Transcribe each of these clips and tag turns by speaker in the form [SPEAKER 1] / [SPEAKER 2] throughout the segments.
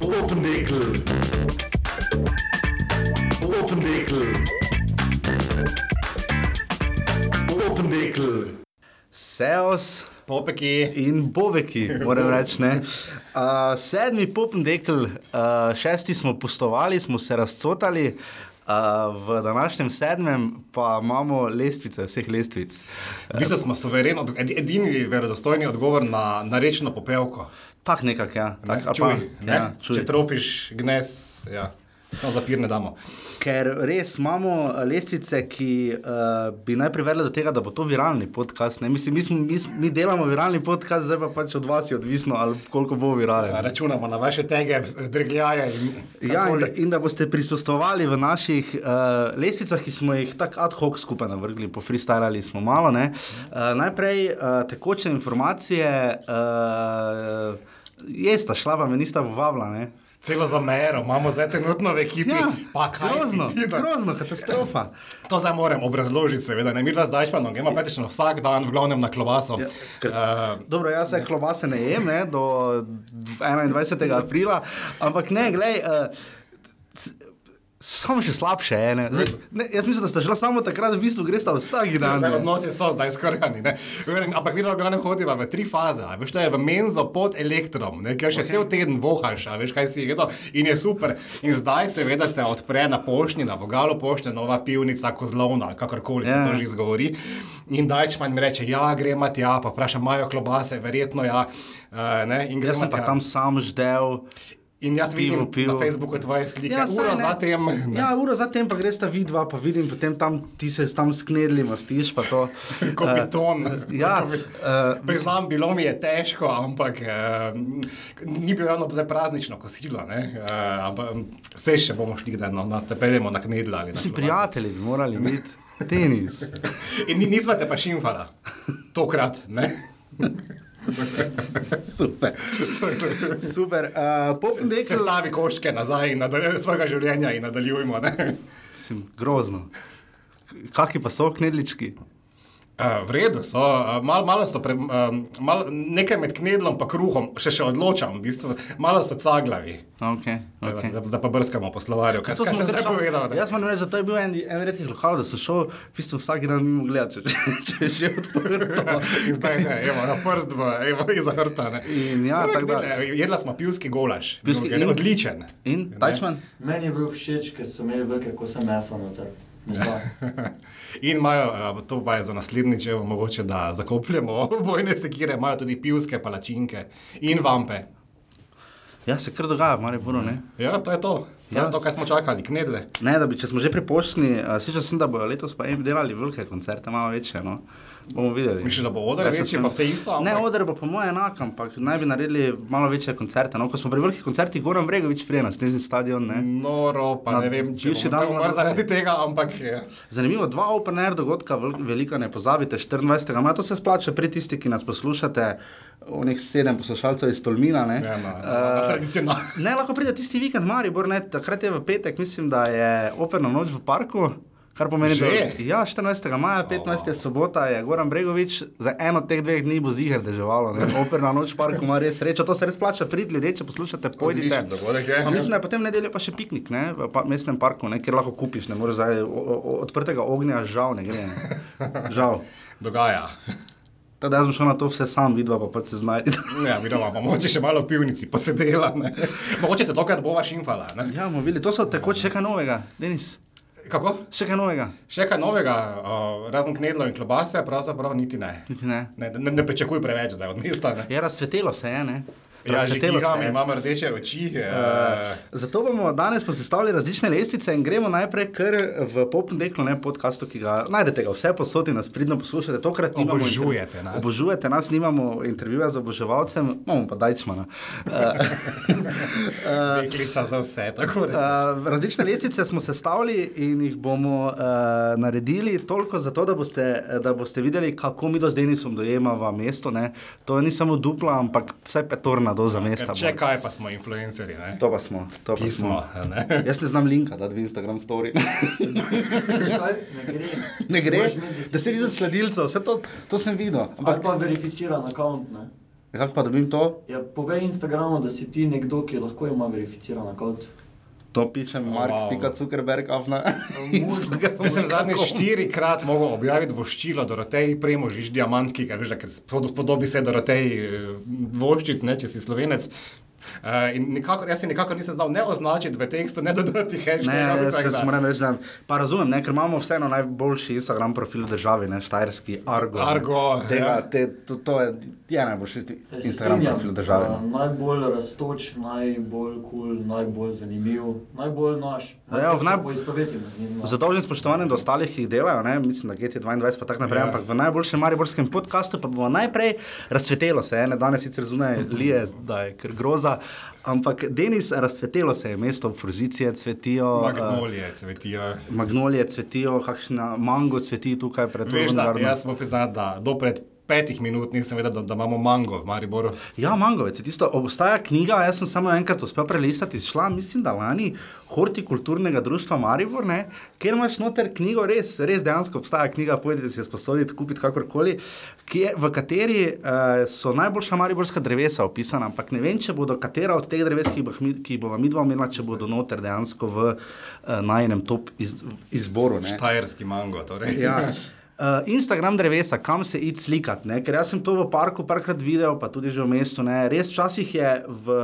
[SPEAKER 1] Potendekl. Potendekl. Potendekl. Seos
[SPEAKER 2] Popeki,
[SPEAKER 1] in Bobeki, moram reči. ne. Uh, sedmi popendekl, uh, šesti smo postovali, smo se razcotali. Uh, v današnjem sedmem pa imamo lestvice vseh lestvic.
[SPEAKER 2] v bistvu smo suvereni, od- ed- edini verodostojni odgovor na, na rečno popevko.
[SPEAKER 1] Tak nekak, ja.
[SPEAKER 2] Ne?
[SPEAKER 1] Tak, ali
[SPEAKER 2] čuj,
[SPEAKER 1] pa,
[SPEAKER 2] ne?
[SPEAKER 1] ja, čuj.
[SPEAKER 2] Če trofiš, gnes, ja. no, zapir ne damo.
[SPEAKER 1] Ker res imamo eh, lestvice, ki uh, bi naj privedle do tega, da bo to viralni podcast. ne. Mislim, mi, smo, mi, smo- mi delamo viralni podcast, zdaj pa pač od vas je odvisno, ali koliko bo viralen.
[SPEAKER 2] Računamo na vaše tege, drgljaje in
[SPEAKER 1] Ja, in, da,
[SPEAKER 2] karkoli.
[SPEAKER 1] in da boste prisostovali v naših uh, lestvicah, ki smo jih tako ad hoc skupaj navrgli, pofristarali smo malo. Uh, najprej uh, tekoče informacije, uh, jesta šla, pa me nista povabila. ne.
[SPEAKER 2] Celo za mero, imamo zdaj trenutno v ekipi, Ja. pa kaj si
[SPEAKER 1] Ja, grozno,
[SPEAKER 2] ti, da-
[SPEAKER 1] grozno, katastrofa.
[SPEAKER 2] To zdaj moram obrazložiti, seveda. Ne, mi dva zdaj špano, gremo praktično vsak dan, v glavnem na klobaso. Ja,
[SPEAKER 1] ker-
[SPEAKER 2] uh,
[SPEAKER 1] Dobro, jaz se klobase ne jem ne, do 21. aprila, ampak ne, glej. Uh, Samo še slabše je. Ne. Zdaj, ne, jaz mislim, da ste šli samo takrat, v bistvu greš vsak
[SPEAKER 2] Zdaj,
[SPEAKER 1] dan. ne.
[SPEAKER 2] Odnosi so zdaj skrhani. ne. Vem, Ampak mi lahko hodimo v tri faze. a Veš, to je v menzo pod elektrom, ne, ker še okay. cel teden vohaš, a veš, kaj si jedel in je super. In zdaj seveda se odpre na pošti, na vogalu pošte, nova pivnica, kozlovna, ali kakorkoli yeah. se
[SPEAKER 1] Ja.
[SPEAKER 2] to že izgovori. In Dajčman mi reče, ja, gremo tja, pa vprašam, imajo klobase, verjetno ja. Uh, ne, in
[SPEAKER 1] Jaz sem
[SPEAKER 2] gremo
[SPEAKER 1] pa
[SPEAKER 2] tja.
[SPEAKER 1] tam sam ždel.
[SPEAKER 2] In jaz
[SPEAKER 1] pivo
[SPEAKER 2] vidim
[SPEAKER 1] pil.
[SPEAKER 2] na Facebooku tvoje slike, ja,
[SPEAKER 1] saj
[SPEAKER 2] ura
[SPEAKER 1] ne.
[SPEAKER 2] zatem. ne.
[SPEAKER 1] Ja, uro zatem pa greš ta vidva, pa vidim potem tam, ti se tam sknedli, mastiš pa to.
[SPEAKER 2] Kot
[SPEAKER 1] Eh,
[SPEAKER 2] piton.
[SPEAKER 1] ja, eh,
[SPEAKER 2] Priznam, bilo mi je težko, ampak eh, ni bilo ravno zdaj praznično kosilo. ne, eh, Ampak vse še bomo šli kdaj, no, na, te peljemo na knedla ali na
[SPEAKER 1] Vsi
[SPEAKER 2] klobaso.
[SPEAKER 1] prijatelji bi
[SPEAKER 2] Ja.
[SPEAKER 1] morali biti tenis.
[SPEAKER 2] In ni- nisva te pa šimfala, tokrat. Ne?
[SPEAKER 1] Super. Super. Uh, Popem
[SPEAKER 2] Se
[SPEAKER 1] dekla.
[SPEAKER 2] stavi koščke nazaj in nadaljujemo svojega življenja in nadaljujemo. ne.
[SPEAKER 1] Mislim, grozno. Kaki pa so knedlički?
[SPEAKER 2] Eh, V redu so, eh, malo, malo so pre, um, malo, nekaj med knedlom in kruhom, še še odločam, v bistvu, malo so caglavi.
[SPEAKER 1] Okay, okay.
[SPEAKER 2] Okay. Zdaj pa brskamo po slovarju. Kaj, kaj sem zdaj povedal? ne?
[SPEAKER 1] Jaz moram reči, da to je bil en, en redkih lokalov, da sem šel v bistvu vsak dan mimo gledati, če, če, če je že odprto.
[SPEAKER 2] In zdaj ne, evo, na prst v, evo, iz hrta.
[SPEAKER 1] In ja, tako da.
[SPEAKER 2] Jedla smo pivski golaž.
[SPEAKER 1] Pivski
[SPEAKER 2] Drugi-
[SPEAKER 1] in?
[SPEAKER 2] Odličen.
[SPEAKER 1] In
[SPEAKER 2] Ne.
[SPEAKER 1] Tajčman?
[SPEAKER 3] Meni je bil všeč, ker so imeli velike kose mesa noter. Mesa.
[SPEAKER 2] In imajo, eh, to pa je za naslednjič, evo, mogoče, da zakopljemo bojne sekire, imajo tudi pivske palačinke in vampe.
[SPEAKER 1] Ja, se kar dogaja, malo je bilo, ne?
[SPEAKER 2] Ja, to je to. To
[SPEAKER 1] Ja,
[SPEAKER 2] je to,
[SPEAKER 1] s-
[SPEAKER 2] kar smo čakali, knedle.
[SPEAKER 1] Ne, da bi, če smo že pri pošti, slišal sem, da bodo letos pa em delali velike koncerte, malo večje. No. Bomo videli.
[SPEAKER 2] Misliš, da bo oder
[SPEAKER 1] Več o
[SPEAKER 2] večji,
[SPEAKER 1] tem.
[SPEAKER 2] pa vse isto, ampak-
[SPEAKER 1] Ne, oder bo po mojem enak, ampak naj bi naredili malo večje koncerte. No, ko smo pri velikih koncertih, Goran Bregovič prije nas, snežni stadion. Ne.
[SPEAKER 2] Noro, pa
[SPEAKER 1] Na
[SPEAKER 2] ne vem, če
[SPEAKER 1] bivši
[SPEAKER 2] bomo
[SPEAKER 1] dan
[SPEAKER 2] zdaj umrli
[SPEAKER 1] mladosti.
[SPEAKER 2] zaradi tega, ampak eh,
[SPEAKER 1] Zanimivo, dva open air dogodka, vel- velika ne pozabite, 24. maja, to se splača pri tisti, ki nas poslušate, onih sedem poslušalcev iz Tolmina. Ne,
[SPEAKER 2] Ja, no, no, no,
[SPEAKER 1] Eh,
[SPEAKER 2] tradicionalno.
[SPEAKER 1] Ne, lahko pride tisti vikend, Maribor, ne, takrat je v petek, mislim, da je operna noč v parku. Kar pomeni, da
[SPEAKER 2] Že?
[SPEAKER 1] ja, 14. maja, 15. Oh. sobota je Goran Bregovič, za eno od teh dveh dni bo zihar deževalo. ne. Operna noč v parku ima res srečo, to se res plača, prid ljudje, če poslušate, pojdite.
[SPEAKER 2] Odličen dogodek je. ja.
[SPEAKER 1] Pa mislim, da je potem nedeljo pa še piknik ne, v pa, mestnem parku, ne, kjer lahko kupiš, ne moreš zdaj o- o- o- odprtega ognja, žal ne gre. Ne. Žal.
[SPEAKER 2] dogaja.
[SPEAKER 1] Tako da jaz sem šel na to vse sam, vidva pa, pa se znajdeš.
[SPEAKER 2] Ja, videla, pa mogoče še malo v pivnici, pa se dela. ne. Mogoče te tokrat bova šimfala. Ne?
[SPEAKER 1] Ja, bomo videli, to so tekoče še kaj novega, Denis,
[SPEAKER 2] Kako?
[SPEAKER 1] še kaj novega.
[SPEAKER 2] Še kaj novega, uh, razen knedlov in klobase, pravzaprav niti ne.
[SPEAKER 1] Niti ne.
[SPEAKER 2] Ne, ne, ne pričakuj preveč, da je od mesta. Ne.
[SPEAKER 1] Je Ja, razsvetelo se je, ne?
[SPEAKER 2] Ja, že
[SPEAKER 1] Razsvetelo
[SPEAKER 2] kigam,
[SPEAKER 1] se je.
[SPEAKER 2] imam rdeče oči.
[SPEAKER 1] Eh,
[SPEAKER 2] Uh,
[SPEAKER 1] Zato bomo danes posestavili različne lestvice in gremo najprej kar v Popendeklu, ne podkastu, ki ga najdete ga vse posod in nas pridno poslušate. Tokrat nimamo interv-
[SPEAKER 2] Obožujete nas.
[SPEAKER 1] Obožujete nas, nimamo intervjuja z oboževalcem, imamo pa Dajčmana. Eh,
[SPEAKER 2] uh, Deklica za vse, tako da.
[SPEAKER 1] Uh, različne lestvice smo sestavili in jih bomo uh, naredili toliko zato, da boste, da boste videli, kako mi do zdaj nismo dojemali mesto. Ne? To ni samo dupla, ampak vsaj petorna doza mesta.
[SPEAKER 2] Ker Če kaj, pa smo influencerji. Ne?
[SPEAKER 1] To pa smo. To pa smo.
[SPEAKER 2] Pismo. ne.
[SPEAKER 1] Jaz ne znam linka, da bi Instagram story.
[SPEAKER 3] Zakaj? Ne gre.
[SPEAKER 1] ne gre,
[SPEAKER 3] Moraš imeti
[SPEAKER 1] da se vidim
[SPEAKER 3] 10 000
[SPEAKER 1] sledilcev, vse to, to sem videl.
[SPEAKER 3] Ali
[SPEAKER 1] Ampak
[SPEAKER 3] pa verificiran račun, ne.
[SPEAKER 1] Kako pa dobim to?
[SPEAKER 3] Ja, povej Instagramu, da si ti nekdo, ki lahko ima verificiran račun.
[SPEAKER 1] To
[SPEAKER 3] Oh,
[SPEAKER 1] pišem
[SPEAKER 2] Wow.
[SPEAKER 1] Mark, wow. pika Zuckerberg, afna. Instagramu.
[SPEAKER 2] Jaz sem zadnjič štirikrat mogel objaviti voščilo Doroteji Premožič, diamant, ki ga veš, da ker spod- podobi se Doroteji eh, voščit, ne, če si slovenec. Uh, in nikakor, jaz se nikakor nisem znal ne označiti v tekstu, ne dodati
[SPEAKER 1] Ne,
[SPEAKER 2] hashtagov.
[SPEAKER 1] jaz se moram reči, da pa razumem, ne, ker imamo vseeno najboljši Instagram profil v državi, ne, štajerski Argo. ne.
[SPEAKER 2] Argo, ja.
[SPEAKER 1] Tega, te, to, to je, je najboljši ti-
[SPEAKER 3] Ja, se
[SPEAKER 1] Instagram
[SPEAKER 3] strinjam.
[SPEAKER 1] profil no. v državi.
[SPEAKER 3] Ja,
[SPEAKER 1] ne.
[SPEAKER 3] Najbolj raztoč, najbolj kul, cool, najbolj zanimiv, najbolj naš.
[SPEAKER 1] Ja, ja, v
[SPEAKER 3] se
[SPEAKER 1] naj-
[SPEAKER 3] Poistovetimo z njim. no.
[SPEAKER 1] Zadolžen spoštovanje do ostalih, ki jih delajo, ne? mislim, da GT22 pa tako naprej,
[SPEAKER 2] Ja.
[SPEAKER 1] yeah. ampak v najboljšem mariborskem podkastu pa bomo najprej razsvetelo se, ne danes sicer zunaj lije, da je kar groza, ampak Denis, razsvetelo se je mesto, fruzicije cvetijo. eh,
[SPEAKER 2] Magnolije, cvetijo.
[SPEAKER 1] Magnolije cvetijo, kakšna mango cveti tukaj
[SPEAKER 2] Veš,
[SPEAKER 1] pred
[SPEAKER 2] da, ja,
[SPEAKER 1] Rovengardom.
[SPEAKER 2] jaz sem priznal, da do pred petih minut nisem vedel, da, da imamo mango v Mariboru.
[SPEAKER 1] Ja, mangovec je tisto, obstaja knjiga, jaz sem samo enkrat uspel prelistati, šla, mislim, da lani Hortikulturnega društva Maribor, ne, kjer imaš noter knjigo, res, res dejansko obstaja knjiga, pojdite si jo sposoditi, kupiti kakorkoli, kjer, v kateri uh, so najboljša mariborska drevesa opisana, ampak ne vem, če bodo katera od teh dreves, ki jih boh mi- ki jih bova midva omenila, če bodo noter dejansko v uh, najnem top iz, izboru. Ne.
[SPEAKER 2] Tajerski mango, torej.
[SPEAKER 1] Ja. Uh, Instagram drevesa, kam se id slikat, ne? ker jaz sem to v parku parkrat videl, pa tudi že v mestu. Ne? Res včasih je v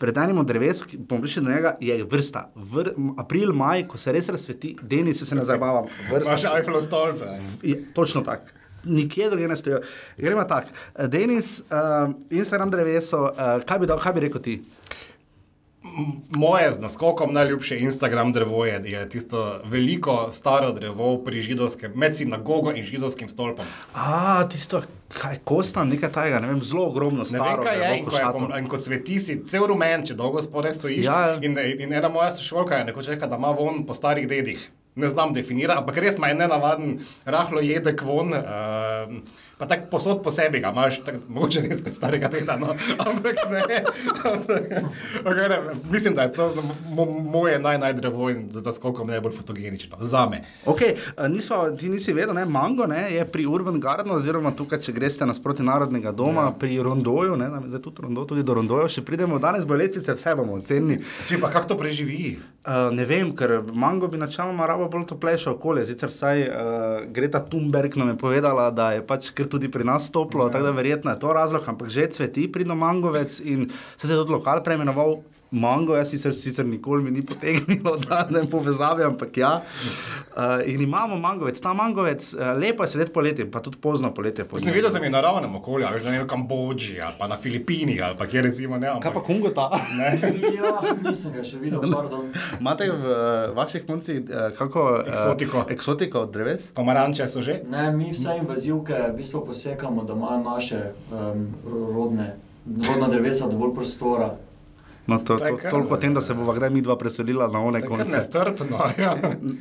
[SPEAKER 1] predanjem dreves, ki bomo prišli do njega, je vrsta. Vr, m- april, maj, ko se res razsveti, deni se ne zabavam,
[SPEAKER 2] Imaš
[SPEAKER 1] vrsta.
[SPEAKER 2] iPhone stolpe.
[SPEAKER 1] Je, točno tako. Nikjer drugje ne stojijo. Gremo tako. Denis, uh, Instagram dreveso, uh, kaj, bi dal, kaj bi rekel ti?
[SPEAKER 2] Moje z naskokom najljubše Instagram drevo je, je tisto veliko staro drevo pri židovskem, med sinagogo in židovskim stolpom.
[SPEAKER 1] A, tisto, kaj kosta, nekaj tajega, ne vem, zelo ogromno
[SPEAKER 2] Ne vem,
[SPEAKER 1] staro.
[SPEAKER 2] kaj je,
[SPEAKER 1] drevo,
[SPEAKER 2] in ko, je
[SPEAKER 1] košato.
[SPEAKER 2] pom- in ko cveti si cel rumen, če dolgo spore stojiš.
[SPEAKER 1] Ja.
[SPEAKER 2] In, in ena moja sošolka je nekoč rekla, da ima von po starih dedih. Ne znam definirati, ampak res ima en nenavaden, rahlo jedek von. Uh, pa tako posod po sebi ga imaš, tak, mogoče res kot starega deda, no. ampak ne. Ampak, okay, ne. Mislim, da je to mo moje naj, naj drevo in za, za skokom najbolj fotogenično. Za me.
[SPEAKER 1] Okay, eh, nisva, ti nisi vedel, ne? Mango ne, je pri Urban Gardenu, oziroma tukaj, če greš nasproti narodnega doma, ja. pri Rondoju, ne, nam je zdaj tudi Rondo, tudi do Rondoja, še pridemo, danes bo lestvice, vse bomo ocenili.
[SPEAKER 2] Če pa kako to preživi?
[SPEAKER 1] Uh, ne vem, ker mango bi načeloma rabo bolj toplejše okolje. Sicer saj uh, Greta Thunberg nam je povedala, da je pač kar tudi pri nas toplo, ja. tako da verjetno je to razlog, ampak že cveti pridno mangovec in se je tudi lokal preimenoval. Mango, jaz sicer, sicer nikoli mi ni potegnilo, da ne povezave, ampak ja. Uh, in imamo mangovec, ta mangovec, uh, lepo je sedeti poleti, pa tudi pozno poletje. po
[SPEAKER 2] Sem
[SPEAKER 1] njem.
[SPEAKER 2] videl, da je v naravnem okolju, a veš, da je v Kambodži ali pa na Filipinih ali pa kjer recimo ne.
[SPEAKER 1] Kaj
[SPEAKER 2] Ampak...
[SPEAKER 1] pa kungota?
[SPEAKER 3] Ja, nisem ga še videl, pardon.
[SPEAKER 1] Imate v uh, vaših koncih uh, kako eh,
[SPEAKER 2] Eksotiko.
[SPEAKER 1] eksotiko od dreves?
[SPEAKER 2] Pomaranče so že?
[SPEAKER 3] Ne, mi vse invazivke v bistvu posekamo doma naše um, rodne, rodna drevesa, dovolj prostora.
[SPEAKER 1] No, to,
[SPEAKER 2] To je
[SPEAKER 1] to,
[SPEAKER 2] kar-
[SPEAKER 1] toliko o tem, da se bova kdaj mi dva preselila na one
[SPEAKER 2] Tako
[SPEAKER 1] konce.
[SPEAKER 2] nestrpno. Ja.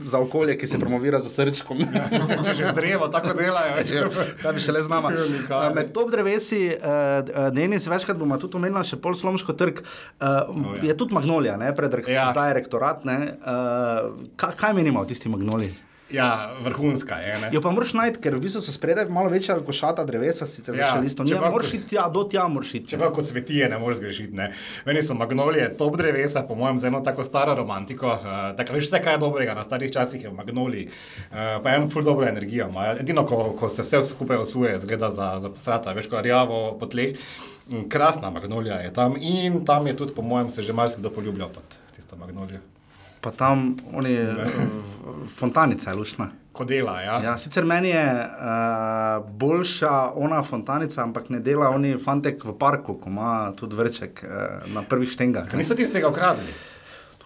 [SPEAKER 1] Za okolje, ki se promovira za srčkom.
[SPEAKER 2] Mislim, Če že z drevo tako delajo.
[SPEAKER 1] Ja,
[SPEAKER 2] veš.
[SPEAKER 1] Kaj bi še le z nami?
[SPEAKER 2] Nikar.
[SPEAKER 1] Med top drevesi, uh, Denis, večkrat bomo tudi omenili še pol slomško trg. Uh,
[SPEAKER 2] ja.
[SPEAKER 1] je tudi magnolija, ne, pred rek-
[SPEAKER 2] Ja.
[SPEAKER 1] zdaj rektorat. Ne, uh, kaj, kaj menimo o tisti magnoliji?
[SPEAKER 2] Ja, vrhunska je. Ne?
[SPEAKER 1] Jo pa moraš najti, ker v bistvu so spredaj malo večja košata drevesa,
[SPEAKER 2] Ja,
[SPEAKER 1] sicer ja, še listov.
[SPEAKER 2] če
[SPEAKER 1] Ne,
[SPEAKER 2] pa-
[SPEAKER 1] moraš iti tja, do tja moraš iti.
[SPEAKER 2] Čeprav kot svetije ne moreš grešiti. ne. Meni so magnolije top drevesa, po mojem, zelo tako staro romantiko. Uh, tako veš, vse kaj je dobrega na starih časih je v magnoliji. Uh, pa eno ful dobro energijo ima. Edino, ko, ko se vse skupaj osuje, zgleda za, za postrata, veš, ko rjavo po tleh. Mm, Krasna magnolija je tam in tam je tudi, po mojem, se že marsikdo poljubljal pod tisto magnolijo.
[SPEAKER 1] Pa tam oni, eh, v- fontanica je lušna.
[SPEAKER 2] Ko dela, ja.
[SPEAKER 1] Ja, sicer meni je uh, boljša ona fontanica, ampak ne dela oni fantek v parku, ko ima tudi vrček uh, na prvih štengah.
[SPEAKER 2] Ker
[SPEAKER 1] ne.
[SPEAKER 2] niso tistega ukradili.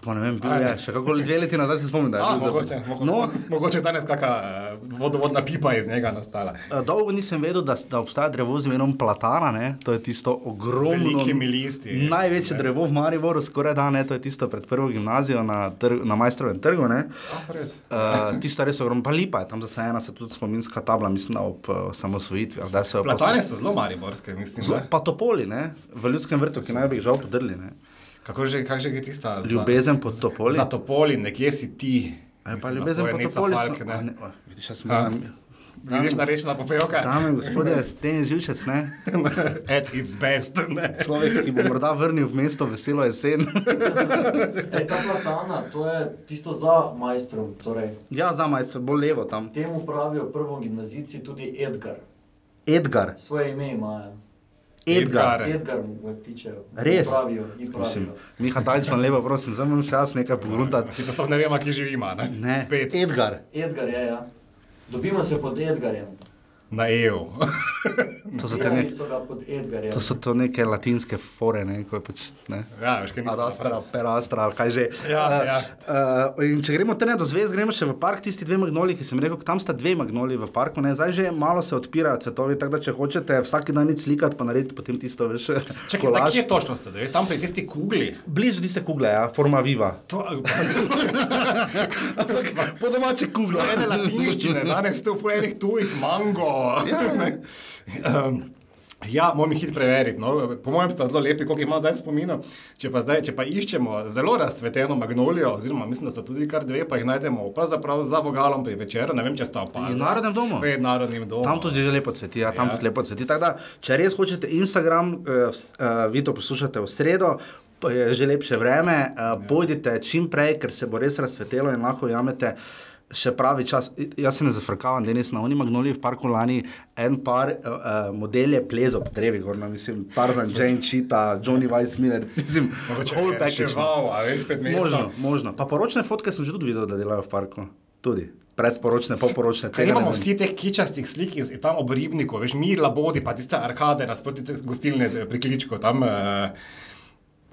[SPEAKER 1] To pa ne vem, bil
[SPEAKER 2] A,
[SPEAKER 1] je
[SPEAKER 2] ne.
[SPEAKER 1] še kako dve leti nazaj, se spomnim, da je
[SPEAKER 2] A,
[SPEAKER 1] bil
[SPEAKER 2] mogoče,
[SPEAKER 1] zelo-
[SPEAKER 2] mogoče,
[SPEAKER 1] No,
[SPEAKER 2] no. mogoče je danes kakšna uh, vodovodna pipa iz njega nastala.
[SPEAKER 1] eh, Dolgo nisem vedel, da, s- da obstaja drevo z imenom platana, ne? to je tisto
[SPEAKER 2] Z
[SPEAKER 1] ogromno.
[SPEAKER 2] velikimi listi.
[SPEAKER 1] Največje drevo v Mariboru, skoraj da ne, to je tisto pred prvo gimnazijo na, trg, na Majstrovem trgu. ne.
[SPEAKER 2] A, res.
[SPEAKER 1] Uh, tisto je res ogromno, pa lepa je tam zasajena, se tudi spominska tabla, mislim, da ob uh, samosvojitvi. ali kdaj so jo
[SPEAKER 2] Platane so zelo mariborske, mislim.
[SPEAKER 1] Zelo,
[SPEAKER 2] ne?
[SPEAKER 1] pa topoli, ne? v ljudskem vrtu, ki naj bi jih žal podrli. Ne?
[SPEAKER 2] Kako že, kak že je tista? za-
[SPEAKER 1] Ljubezen pod topoli.
[SPEAKER 2] Za topoli, nekje si ti.
[SPEAKER 1] Aj, pa
[SPEAKER 2] Mislim, da
[SPEAKER 1] ljubezen
[SPEAKER 2] to je
[SPEAKER 1] pod
[SPEAKER 2] Neca
[SPEAKER 1] topoli.
[SPEAKER 2] Falk,
[SPEAKER 1] so-
[SPEAKER 2] ne.
[SPEAKER 1] a, ne, o, Vidiš, jaz sem
[SPEAKER 2] A.
[SPEAKER 1] moram
[SPEAKER 2] Vidiš na rečna popevka?
[SPEAKER 1] Dame in gospodje, tenis živčec, ne?
[SPEAKER 2] At its best. Ne?
[SPEAKER 1] Človek, ki bo morda vrnil v mesto veselo jesen.
[SPEAKER 3] Ej, ta platana, to je tisto za majstrom. Torej.
[SPEAKER 1] ja, za majce, bolj levo tam.
[SPEAKER 3] Temu pravijo prvo gimnazici tudi Edgar.
[SPEAKER 1] Edgar.
[SPEAKER 3] Svoje ime imajo.
[SPEAKER 1] Edgar.
[SPEAKER 2] Edgar.
[SPEAKER 3] Edgar mu ga kličejo.
[SPEAKER 1] Res?
[SPEAKER 3] Ji Pravijo, ji
[SPEAKER 1] Mislim,
[SPEAKER 3] pravijo.
[SPEAKER 1] Miha Tajčman, lepo prosim, zdaj moram še jaz nekaj pogruntati.
[SPEAKER 2] Če to sploh ne vemo, ki živimo, ne?
[SPEAKER 1] Ne, E-
[SPEAKER 2] Spet
[SPEAKER 1] Edgar.
[SPEAKER 3] Edgar je, ja. Dobimo se pod Edgarjem.
[SPEAKER 2] na EU.
[SPEAKER 1] To so, te
[SPEAKER 3] Zbirali
[SPEAKER 1] nek,
[SPEAKER 3] so ga pod Edgarjem.
[SPEAKER 1] to so to neke latinske fore, ne, ko je pač, ne.
[SPEAKER 2] ja, veš, kaj nisem.
[SPEAKER 1] Adastra, perastra, ali kaj že.
[SPEAKER 2] Ja,
[SPEAKER 1] Eh,
[SPEAKER 2] ja.
[SPEAKER 1] eh, in če gremo te ne do zvezd, gremo še v park, tisti dve magnoli, ki sem rekel, tam sta dve magnoli v parku, ne, zdaj že malo se odpirajo cvetovi, tako da če hočete vsak dan nič slikati, pa narediti potem tisto, veš,
[SPEAKER 2] Čakaj, zdaj,
[SPEAKER 1] kolaž.
[SPEAKER 2] kje točno ste? Da je tam pri tisti kugli.
[SPEAKER 1] Blizu tiste kugle, ja, forma viva.
[SPEAKER 2] To,
[SPEAKER 1] Po domače kugle.
[SPEAKER 2] Ene latinščine, danes ste v enih tujih, mango. Ja, ja moram jih hitro preveriti. No. Po mojem sta zelo lepi, koliko imam zdaj spominov. Če pa, zdaj, če pa iščemo zelo razcveteno magnolijo, oziroma mislim, da sta tudi kar dve, pa jih najdemo pravzaprav za vogalom pri večeru, ne vem, če sta
[SPEAKER 1] V
[SPEAKER 2] opazili.
[SPEAKER 1] narodnem domu.
[SPEAKER 2] Pred narodnim domom.
[SPEAKER 1] Tam tudi že lepo cveti, ja, tam
[SPEAKER 2] Ja.
[SPEAKER 1] ja. tudi lepo cveti. Tako da, če res hočete Instagram, eh, vs- eh, vi to poslušate v sredo. pa Je že lepše vreme, ja. pojdite čim prej, ker se bo res razsvetelo in lahko jamete še pravi čas. I- Jaz se ne zafrkavam, danes na oni magnoli v parku lani en par uh, uh, model je plezel po drevi, gorno, mislim, Tarzan, Jane Cheetah, Johnny Weiss Miller, mislim,
[SPEAKER 2] Mogoče je
[SPEAKER 1] whole
[SPEAKER 2] še
[SPEAKER 1] package. no.
[SPEAKER 2] val, a veš, pred mestom.
[SPEAKER 1] Možno, možno. Pa poročne fotke sem že tudi videl, da delajo v parku. Tudi. Predsporočne, poporočne.
[SPEAKER 2] Kaj
[SPEAKER 1] tega ne
[SPEAKER 2] imamo
[SPEAKER 1] vem.
[SPEAKER 2] vsi teh kičastih slik iz tam ob ribniku, veš, mi labodi, pa tiste arkade nasproti te gostilne eh, prikličko tam. Uh,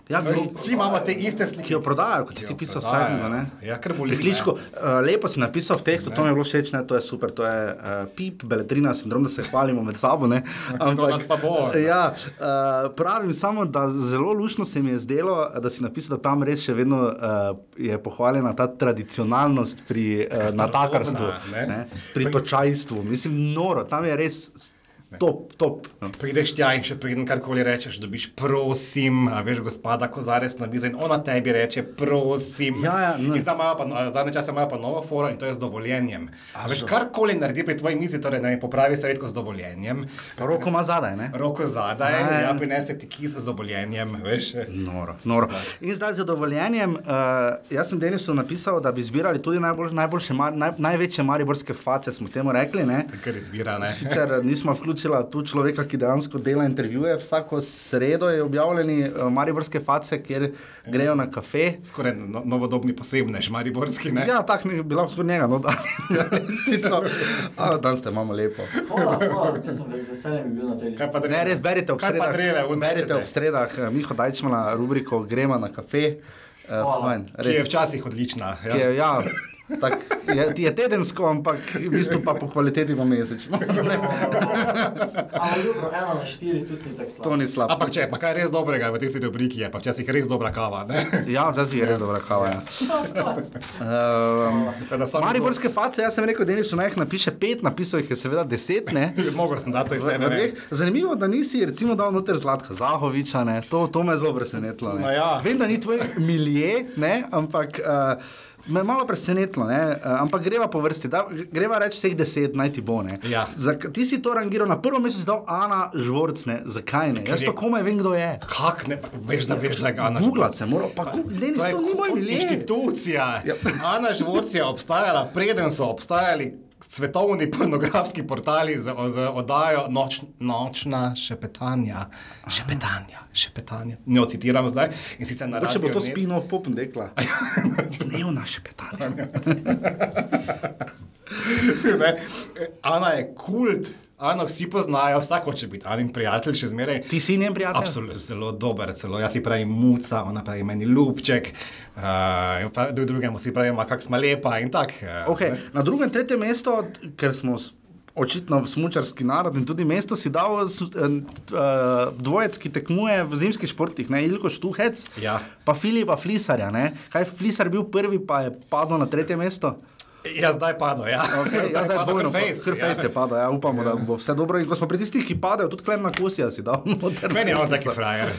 [SPEAKER 1] Ja, gro-
[SPEAKER 2] vsi imamo te iste slike.
[SPEAKER 1] ki jo prodajajo, kot si
[SPEAKER 2] jo
[SPEAKER 1] ti pisal,
[SPEAKER 2] prodajajo.
[SPEAKER 1] vsak
[SPEAKER 2] Ja, kar boli,
[SPEAKER 1] Prikličko, uh, lepo si napisal v tekstu, to mi je bilo všeč, ne, to je super, to je uh, pip, beletrina, sindrom, da se hvalimo med sabo. Ne,
[SPEAKER 2] nas pa bo, ne.
[SPEAKER 1] ja, uh, pravim samo, da zelo lušno se mi je zdelo, da si napisal, da tam res še vedno uh, je pohvaljena ta tradicionalnost pri uh, natakarstvu,
[SPEAKER 2] ne.
[SPEAKER 1] ne, pri točajstvu. Mislim, noro, tam je res top, top. No.
[SPEAKER 2] Prideš tja in še preden karkoli rečeš, dobiš prosim, a veš, gospoda Kozarec na mizo in ona tebi reče prosim.
[SPEAKER 1] Ja, ja, ne.
[SPEAKER 2] in zdaj imajo pa, no- zadnje čase imajo pa novo foro in to je z dovoljenjem. A veš, karkoli naredi pri tvoji mizi, torej ne vem, popravi se redko z dovoljenjem,
[SPEAKER 1] Roko ima zadaj, ne?
[SPEAKER 2] roko zadaj,
[SPEAKER 1] Ja, ja.
[SPEAKER 2] ja, prinese ti kis z dovoljenjem, veš.
[SPEAKER 1] Noro, noro. In zdaj z zadovoljenjem. Uh, jaz sem Denisu napisal, da bi zbirali tudi najbolj, najboljše, mar, naj, največje mariborske face, smo temu rekli. Ne?
[SPEAKER 2] Kar izbira, ne.
[SPEAKER 1] Sicer nismo vključili tu človeka, ki dejansko dela intervjuje. Vsako sredo je objavljeni eh, mariborske face, kjer grejo na kafe.
[SPEAKER 2] Skoraj no, novodobni posebnež, mariborski, ne?
[SPEAKER 1] Ja, tako bi bila vsur njega, no da. Resnico. A, Danes te imamo lepo.
[SPEAKER 3] Hvala, hvala, mislim, da z veseljem bi bil na tej listi.
[SPEAKER 2] Kaj pa
[SPEAKER 1] Ne, res berite ob
[SPEAKER 2] Kaj pa
[SPEAKER 1] sredah.
[SPEAKER 2] dreve, un
[SPEAKER 1] berite
[SPEAKER 2] mečete?
[SPEAKER 1] ob sredah, eh, Miho Dajčmana, rubriko Gremo na kafe.
[SPEAKER 3] Hvala.
[SPEAKER 1] Uh, fajn,
[SPEAKER 2] Ki je
[SPEAKER 1] res.
[SPEAKER 2] včasih odlična. Ja.
[SPEAKER 1] ki je, ja, tak, je, je tedensko, ampak v bistvu pa po kvaliteti pa mesečno.
[SPEAKER 3] Ampak dobro, ena na štiri tudi ni tako slabo.
[SPEAKER 1] To ni slabo.
[SPEAKER 2] Ampak če je pa kaj res dobrega v tisti rubriki, je pa včasih res dobra kava. Ne?
[SPEAKER 1] Ja, včasih je res dobra kava. Ja. Um,
[SPEAKER 2] Da sam
[SPEAKER 1] Mariborske face, jaz sem rekel, da so naj jih napiše pet, napisal jih je seveda deset. Ne?
[SPEAKER 2] Mogoče sem dal to iz
[SPEAKER 1] V-
[SPEAKER 2] sebe.
[SPEAKER 1] v dveh.
[SPEAKER 2] ne.
[SPEAKER 1] Zanimivo, da nisi recimo dal noter Zlatka Zahoviča, ne? to, to me je zelo presenetilo. ne.
[SPEAKER 2] Ma ja.
[SPEAKER 1] Vem, da ni tvoj milje, ne? ampak uh, me je malo presenetilo, ne. Eh, ampak greva po vrsti, da, greva reči vseh deset, naj ti bo. ne.
[SPEAKER 2] Ja.
[SPEAKER 1] Zak- ti si to rangiral, na prvo mesto si dal Ana Žvorc, ne? zakaj ne? Jaz
[SPEAKER 2] je-
[SPEAKER 1] to komaj vem, kdo je.
[SPEAKER 2] Kak ne, pa veš, da veš, da ga Ana.
[SPEAKER 1] Googlati se mora, pa Google, ne,
[SPEAKER 2] To je
[SPEAKER 1] to ni Ja. moj
[SPEAKER 2] kot
[SPEAKER 1] milje.
[SPEAKER 2] inštitucija. Ana Žvorc je obstajala, preden so obstajali svetovni pornografski portali z, z oddajo noč, Nočna šepetanja. Šepetanja, šepetanja. Ne ocitiram zdaj. In sicer na
[SPEAKER 1] Če bo to
[SPEAKER 2] Radiu Net.
[SPEAKER 1] spino v popem dekla. Dnevna šepetanja.
[SPEAKER 2] Ne? E, Ana je kult, Ana vsi poznajo, vsak hoče biti Anin prijatelj, še zmeraj.
[SPEAKER 1] Ti si njen prijatelj?
[SPEAKER 2] Absolutno, zelo dober, celo jaz si pravim muca, ona pravi meni ljubček, uh, pa dru- drugemu si pravim, kak smo lepa in tako. Uh,
[SPEAKER 1] Okay. Na drugem, tretjem mestu, t- ker smo s- očitno smočarski narod in tudi mesto, si dal s- en, t- eh, dvojec, ki tekmuje v zimskih športih, ne Ilko Štuhec,
[SPEAKER 2] Ja.
[SPEAKER 1] pa Filipa Flisarja. Ne? Kaj je Flisar bil prvi, pa je padel na tretje mesto?
[SPEAKER 2] Jaz zdaj padam, ja.
[SPEAKER 1] Okay, ja, zdaj
[SPEAKER 2] padam
[SPEAKER 1] dvojno,
[SPEAKER 2] kot fejst,
[SPEAKER 1] krfejst je padel, ja, upamo, ja. da bo vse dobro. In ko smo pri tistih, ki padajo, tudi klem na kosija si dal. noter.
[SPEAKER 2] Meni je on taki frajer.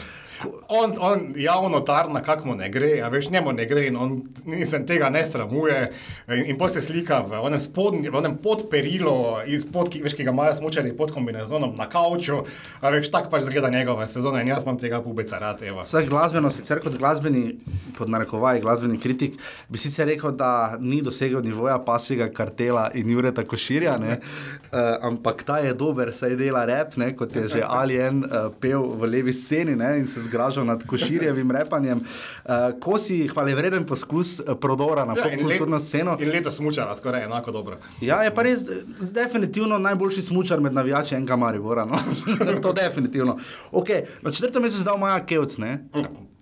[SPEAKER 2] On, on javno tarna, kako mu ne gre, a veš, njemu ne gre in on nisem tega ne sramuje. In, in pol se slika v onem, spodnji, v onem podperilu, izpod, ki, veš, ki ga imajo smočari pod kombinezonom na kauču, a veš, tak pač zgleda njegova sezona in jaz imam tega pubeca rad, evo.
[SPEAKER 1] Vsak glasbeno, sicer kot glasbeni, pod narekovaji glasbeni kritik, bi sicer rekel, da ni dosegel nivoja pasega kartela in Jureta Koširja, ne, uh, ampak ta je dober, saj dela rep, ne, kot je že Alien uh, pel v levi sceni ne, in se zgražal nad Koširjevim repanjem. Uh, ko si hvale vreden poskus eh, prodora na
[SPEAKER 2] Ja, in let-
[SPEAKER 1] popkulturno sceno.
[SPEAKER 2] In letos smučava skoraj enako dobro.
[SPEAKER 1] Ja, je pa res eh, definitivno najboljši smočar med navijači enega Maribora. No? to definitivno. Okay, na četrtem mestu je zdal Maja Kevc, ne?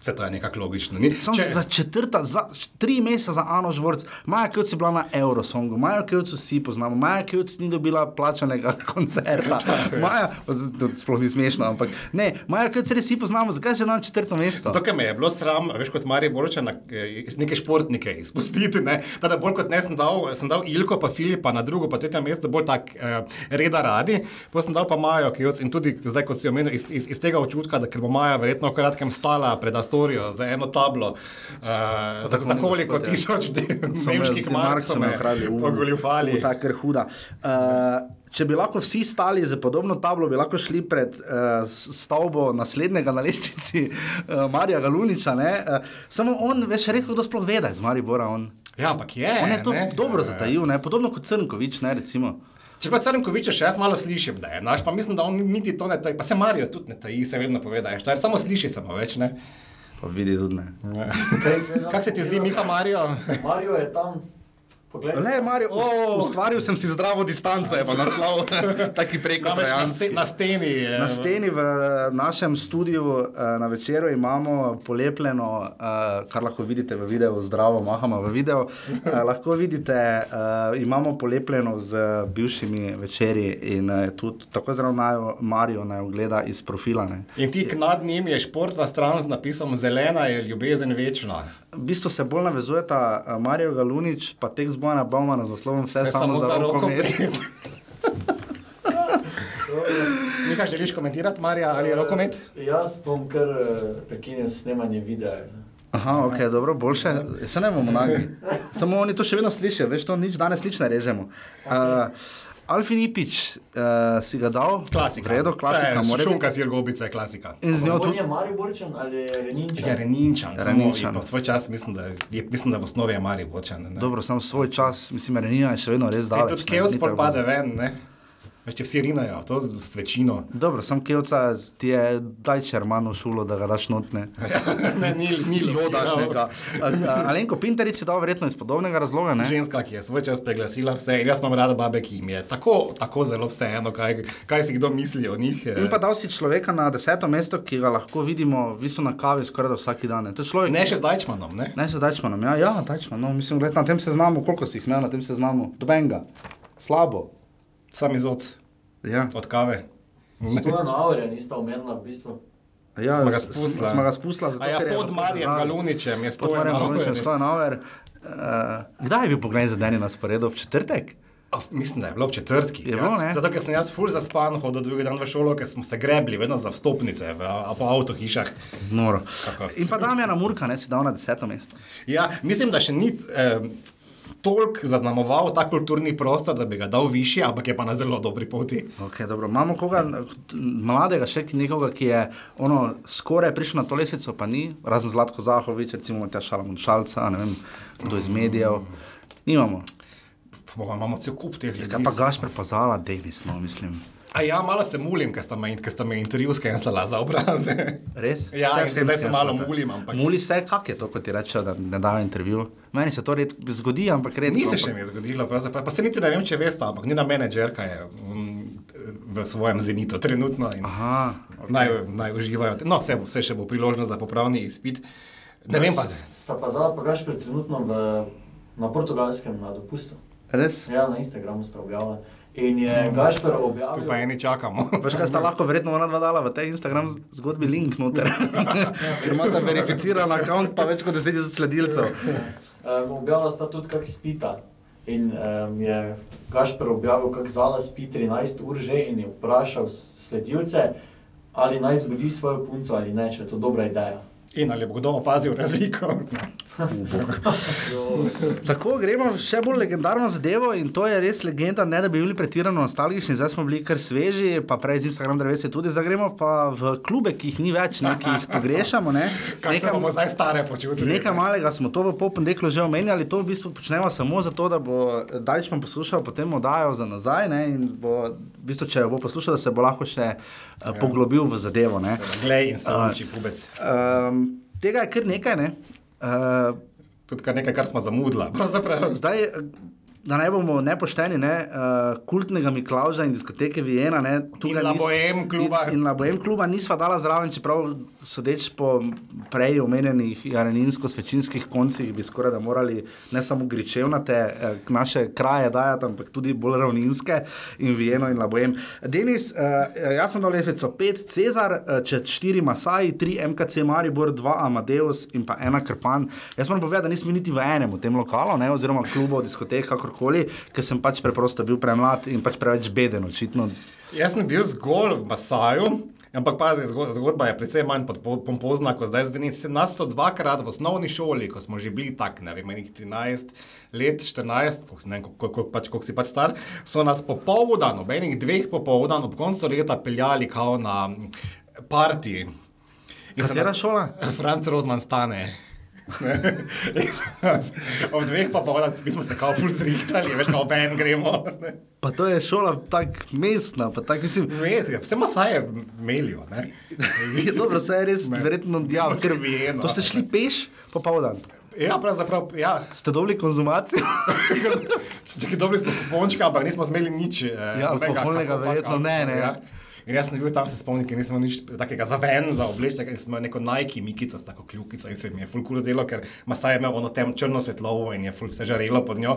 [SPEAKER 2] Se to je nekako logično. Ni?
[SPEAKER 1] Ja. Samo Če... za četrta, za š- tri meseca za Ano Žvorc, Maja Kevc je bila na Eurosongu, Maja Kevc vsi poznamo, Maja Kevc ni dobila plačanega koncerta. Maja, to sploh ni smešno, ampak ne, Maja Kevc res vsi poznamo, zakaj se nam četrto mesto?
[SPEAKER 2] To, kar me je bilo sram, veš, kot Marijo Boroča, eh, neke športnike izpustiti. Ne? Teda bolj kot ne, sem dal, sem dal Ilko, pa Filipa na drugo, pa tretje mesto, bolj tak eh, reda radi. Potem sem dal pa Majo, ki jo in tudi zdaj, kot si omenil, iz, iz, iz tega občutka, da ker bo Maja verjetno v kratkem stala pred Astorijo za eno tablo, eh, za, za koliko
[SPEAKER 1] gospodje.
[SPEAKER 2] tisoč de-
[SPEAKER 1] So me-
[SPEAKER 2] nemških mark so me
[SPEAKER 1] ukradli, uh,
[SPEAKER 2] pogoljufali.
[SPEAKER 1] Ta kar huda. Uh, Če bi lahko vsi stali za podobno tablo, bi lahko šli pred uh, stavbo naslednjega na lestvici, uh, Marija Galuniča. ne, eh, Samo on, veš, redko kdo sploh ve, da je z Maribora. On,
[SPEAKER 2] Ja, ampak je.
[SPEAKER 1] on je to ne, dobro
[SPEAKER 2] Eh,
[SPEAKER 1] zatajil, ne? podobno kot Crnkovič. Ne, recimo.
[SPEAKER 2] Če pa Crnkoviča še jaz malo slišim, da je naš, pa mislim, da on niti to ne taji, pa se Marijo tudi ne taji, se vedno pove, da je štar, samo sliši se mu več, ne.
[SPEAKER 1] pa vidi tudi ne.
[SPEAKER 2] Kako se ti zdi, Mika Marijo?
[SPEAKER 3] Marijo je tam, poglej.
[SPEAKER 1] Le, Marijo,
[SPEAKER 2] O!
[SPEAKER 1] oh, ustvaril sem si zdravo distanco, je pa naslov, taki preko
[SPEAKER 2] Namreč na, ja, no.
[SPEAKER 1] trojanski.
[SPEAKER 2] se, na steni je.
[SPEAKER 1] Na steni v našem studiu eh, na večeru imamo polepljeno, eh, kar lahko vidite v videu, zdravo, mahamo v videu. Eh, Lahko vidite, eh, imamo polepljeno z bivšimi večerji in eh, tudi tako zelo naj Marijo naj ogleda iz profila. Ne.
[SPEAKER 2] In tik nad njim je športna stran z napisom Zelena je ljubezen večna.
[SPEAKER 1] V bistvu se bolj navezujeta eh, Marijo Galunič, pa tek zbojna Baumana z naslovom Vse, Vse samo, samo za rokomet.
[SPEAKER 2] Mika, želiš komentirati, Marija, ali je rokomet?
[SPEAKER 3] Eh, Jaz bom kar eh, prekinil snemanje videa.
[SPEAKER 1] Aha, ok, dobro, boljše. Se ne bomo nagi. Samo oni to še vedno slišijo, veš, to nič danes nič ne režemo. Uh, Alfin Ipič uh, si ga dal,
[SPEAKER 2] Klasika.
[SPEAKER 1] v redu, klasika, mora biti.
[SPEAKER 2] Šunka sirgobica je klasika.
[SPEAKER 1] In z njo
[SPEAKER 3] On
[SPEAKER 1] tudi.
[SPEAKER 3] je Mariborčan ali je Reninčan?
[SPEAKER 2] Je Reninčan, samo
[SPEAKER 1] Renčan.
[SPEAKER 2] po svoj čas mislim, da je, mislim, da v osnovi je Marijo Bočan. ne.
[SPEAKER 1] Dobro, samo svoj čas, mislim, Renina je še vedno res
[SPEAKER 2] Zdaj
[SPEAKER 1] dal.
[SPEAKER 2] tudi Kevc pol pade ven, ne? Veš, če vsi rinajo, to z z večino.
[SPEAKER 1] Dobro, sam Kevca z- ti je daj čermano šulo, da ga daš notne.
[SPEAKER 2] ne, ni, ni
[SPEAKER 1] Jodašnega. Alenko Pinterič je dal verjetno iz podobnega razloga, ne?
[SPEAKER 2] Ženska, ki je svoj čas preglasila vse, in jaz imam rada babe, ki jim je tako, tako zelo vseeno, kaj, kaj si kdo misli o njih. eh.
[SPEAKER 1] In pa dal si človeka na deseto mesto, ki ga lahko vidimo, v bistvu na kavi skoraj da vsak dan. ne. To je človek,
[SPEAKER 2] Ne še z Dajčmanom, ne?
[SPEAKER 1] Naj se dačmanom, ja, ja dačmanom. Mislim, gled, na tem seznamu, koliko si jih imel na tem seznamu? Dobenga, slabo.
[SPEAKER 2] Sam izod
[SPEAKER 1] Ja,
[SPEAKER 2] od kave.
[SPEAKER 3] Stojan Aure nista omenila v bistvu.
[SPEAKER 1] ja
[SPEAKER 2] Sva ga
[SPEAKER 1] s- s-
[SPEAKER 2] spustila.
[SPEAKER 1] Sva ga spustila, zato
[SPEAKER 2] A ja,
[SPEAKER 1] ker je
[SPEAKER 2] pod
[SPEAKER 1] v
[SPEAKER 2] Marijem
[SPEAKER 1] povezavi.
[SPEAKER 2] Galuničem je
[SPEAKER 1] Pod
[SPEAKER 2] stojno.
[SPEAKER 1] Marijem Galuničem, Stojan Auer. Uh, kdaj je bil pogled za dan na sporedu? V četrtek?
[SPEAKER 2] Oh, mislim, da je bilo ob četrtki. ja.
[SPEAKER 1] Je bilo, ne?
[SPEAKER 2] Zato, ker sem jaz ful zaspan, hodil drugi dan v šolo, ker smo se grebli vedno za vstopnice v, po avtohišah.
[SPEAKER 1] Noro.
[SPEAKER 2] Tako.
[SPEAKER 1] In pa Damjana Murka, ne si dal na deseto mesto.
[SPEAKER 2] Ja, mislim, da še ni eh, toliko zaznamoval ta kulturni prostor, da bi ga dal više, ampak je pa na zelo dobri poti.
[SPEAKER 1] Okay, dobro. Imamo koga n- mladega, še ki- nekoga, ki je ono, skoraj prišel na to lesnico, pa ni, razen Zlatko Zahovič, recimo ta Šalamun Šalca, ne vem, kdo iz medijev. Nimamo.
[SPEAKER 2] Pa bomo- Imamo cel kup teh ljudi.
[SPEAKER 1] Kaj pa Gašpr Pazala, Davis, no, mislim.
[SPEAKER 2] A ja, malo se mulim, ker sta me, in- ker sta me intervju skenslala za obraze.
[SPEAKER 1] Res?
[SPEAKER 2] Ja,
[SPEAKER 1] Vse
[SPEAKER 2] in
[SPEAKER 1] vsem
[SPEAKER 2] zdaj se
[SPEAKER 1] skresno,
[SPEAKER 2] malo
[SPEAKER 1] tako.
[SPEAKER 2] mulim, ampak-
[SPEAKER 1] Muli se, kak je to, kot ti rečejo, da ne dajo intervju. Meni se to red, zgodi, ampak redno.
[SPEAKER 2] Ni se še
[SPEAKER 1] ampak-
[SPEAKER 2] mi zgodilo, pravzaprav. pa se niti ne vem, če veste, ampak njena menedžerka je mm, v svojem zenitu trenutno. In...
[SPEAKER 1] Aha.
[SPEAKER 2] Naj, naj uživajo. No, vse, bo- vse še bo priložnost za popravni izpit. Ne vem pa,
[SPEAKER 3] Sta pa zdaj pa gaš pred trenutno v, na portugalskem na dopustu.
[SPEAKER 1] Res?
[SPEAKER 3] Ja, na Instagramu sta objavila. In je Gašper
[SPEAKER 2] tu Mm. pa
[SPEAKER 3] objavil,
[SPEAKER 2] eni čakamo.
[SPEAKER 1] Veš kaj sta lahko verjetno ona dva dala v tej Instagram zgodbi link noter,
[SPEAKER 2] Ja,
[SPEAKER 1] ker imata verificiran račun, pa več kot 10 tisoč sledilcev.
[SPEAKER 3] um, objavila sta tudi, kako spita. In um, je Gašper objavil, kako Zala spi 13 ur že in je vprašal s- sledilce, ali naj zbudi svojo punco ali ne, če je to dobra ideja.
[SPEAKER 2] In ali bo kdo opazil razliko?
[SPEAKER 1] Tako gremo še bolj legendarno zadevo in to je res legenda, ne da bi bili pretirano nostalgični, zdaj smo bili kar sveži, pa prej z Instagram drevesi tudi, zdaj gremo pa v klube, ki jih ni več, ne, ki jih pogrešamo. Ne.
[SPEAKER 2] Kaj se
[SPEAKER 1] Nekam-
[SPEAKER 2] bomo zdaj stare počutili?
[SPEAKER 1] Nekaj malega smo to v popendeklu že omenjali, to v bistvu počnemo samo zato, da bo Dajčman poslušal potem oddajo za nazaj ne, in bo, v bistvu, če jo bo poslušal, da se bo lahko še ja. poglobil v zadevo. Ne.
[SPEAKER 2] Glej in se uči pubec.
[SPEAKER 1] Um, tega je kar nekaj, ne. Uh,
[SPEAKER 2] Tudi kar nekaj, kar smo zamudili. Pravzaprav.
[SPEAKER 1] Zdaj, eh, da ne bomo nepošteni, ne, uh, kultnega Miklauža in diskoteke Vijena. Ne, tukaj
[SPEAKER 2] In La
[SPEAKER 1] nis-
[SPEAKER 2] Boheme kluba.
[SPEAKER 1] In, in La Bohem kluba nisva dala zraven, čeprav sodeč po prej omenjenih jareninsko-svečinskih koncih bi skoraj da morali ne samo gričevnate eh, naše kraje dajati, ampak tudi bolj ravninske in Vijeno in La Bohem. Denis, uh, jaz sem dal lesvico 5, Cezar, eh, če 4 Masai, 3 MKC Maribor, 2 Amadeus in pa 1 Krpan. Jaz moram povedati, da nismo niti v enem v tem lokalu, ne, oziroma klubu, diskotek, kakorkoli, ker sem pač preprosto bil premlad in pač preveč beden, očitno.
[SPEAKER 2] Jaz sem bil zgolj v Masaju. Ampak pazi, zgo- zgodba je precej manj pod- po- pompozna, kot zdaj zveni. Se- Nas so dvakrat v osnovni šoli, ko smo že bili tako, ne vem, enih 13 let, 14, koliko si, ne vem, koliko- koliko pač, koliko si pač star, so nas popoldan, ob enih dveh popoldan, ob koncu leta peljali kao na parti. In se
[SPEAKER 1] Katera
[SPEAKER 2] nas-
[SPEAKER 1] šola?
[SPEAKER 2] Franz Rozman stane. Ne. In so nas- Ob dveh pa povedali, mi smo se kao ful zrihtali, veš, kao ven gremo. Ne.
[SPEAKER 1] Pa to je šola tako mestna, pa tako mislim.
[SPEAKER 2] Med, ja, vse masaje melijo. ne.
[SPEAKER 1] Je Ja, dobro, saj je res,
[SPEAKER 2] Ne.
[SPEAKER 1] verjetno, ja,
[SPEAKER 2] Smo
[SPEAKER 1] ker
[SPEAKER 2] krvijeno,
[SPEAKER 1] To ste šli peš, pa pa vodan.
[SPEAKER 2] Ja, pravzaprav, ja.
[SPEAKER 1] Ste dobili konzumacijo?
[SPEAKER 2] Če dobili smo kupončka, ampak nismo smeli nič. eh,
[SPEAKER 1] Ja,
[SPEAKER 2] nobenega
[SPEAKER 1] alkoholnega
[SPEAKER 2] kakopak,
[SPEAKER 1] verjetno ne, ne.
[SPEAKER 2] Ja. In jaz sem bil tam, se spomnim, ker nismo nič takega za ven, za obleč, ker smo neko Nike mikico, s tako kljukico in se mi je ful kul zdelo, ker Masaj je imel ono tem črno svetlovo in je ful vse žarelo pod njo.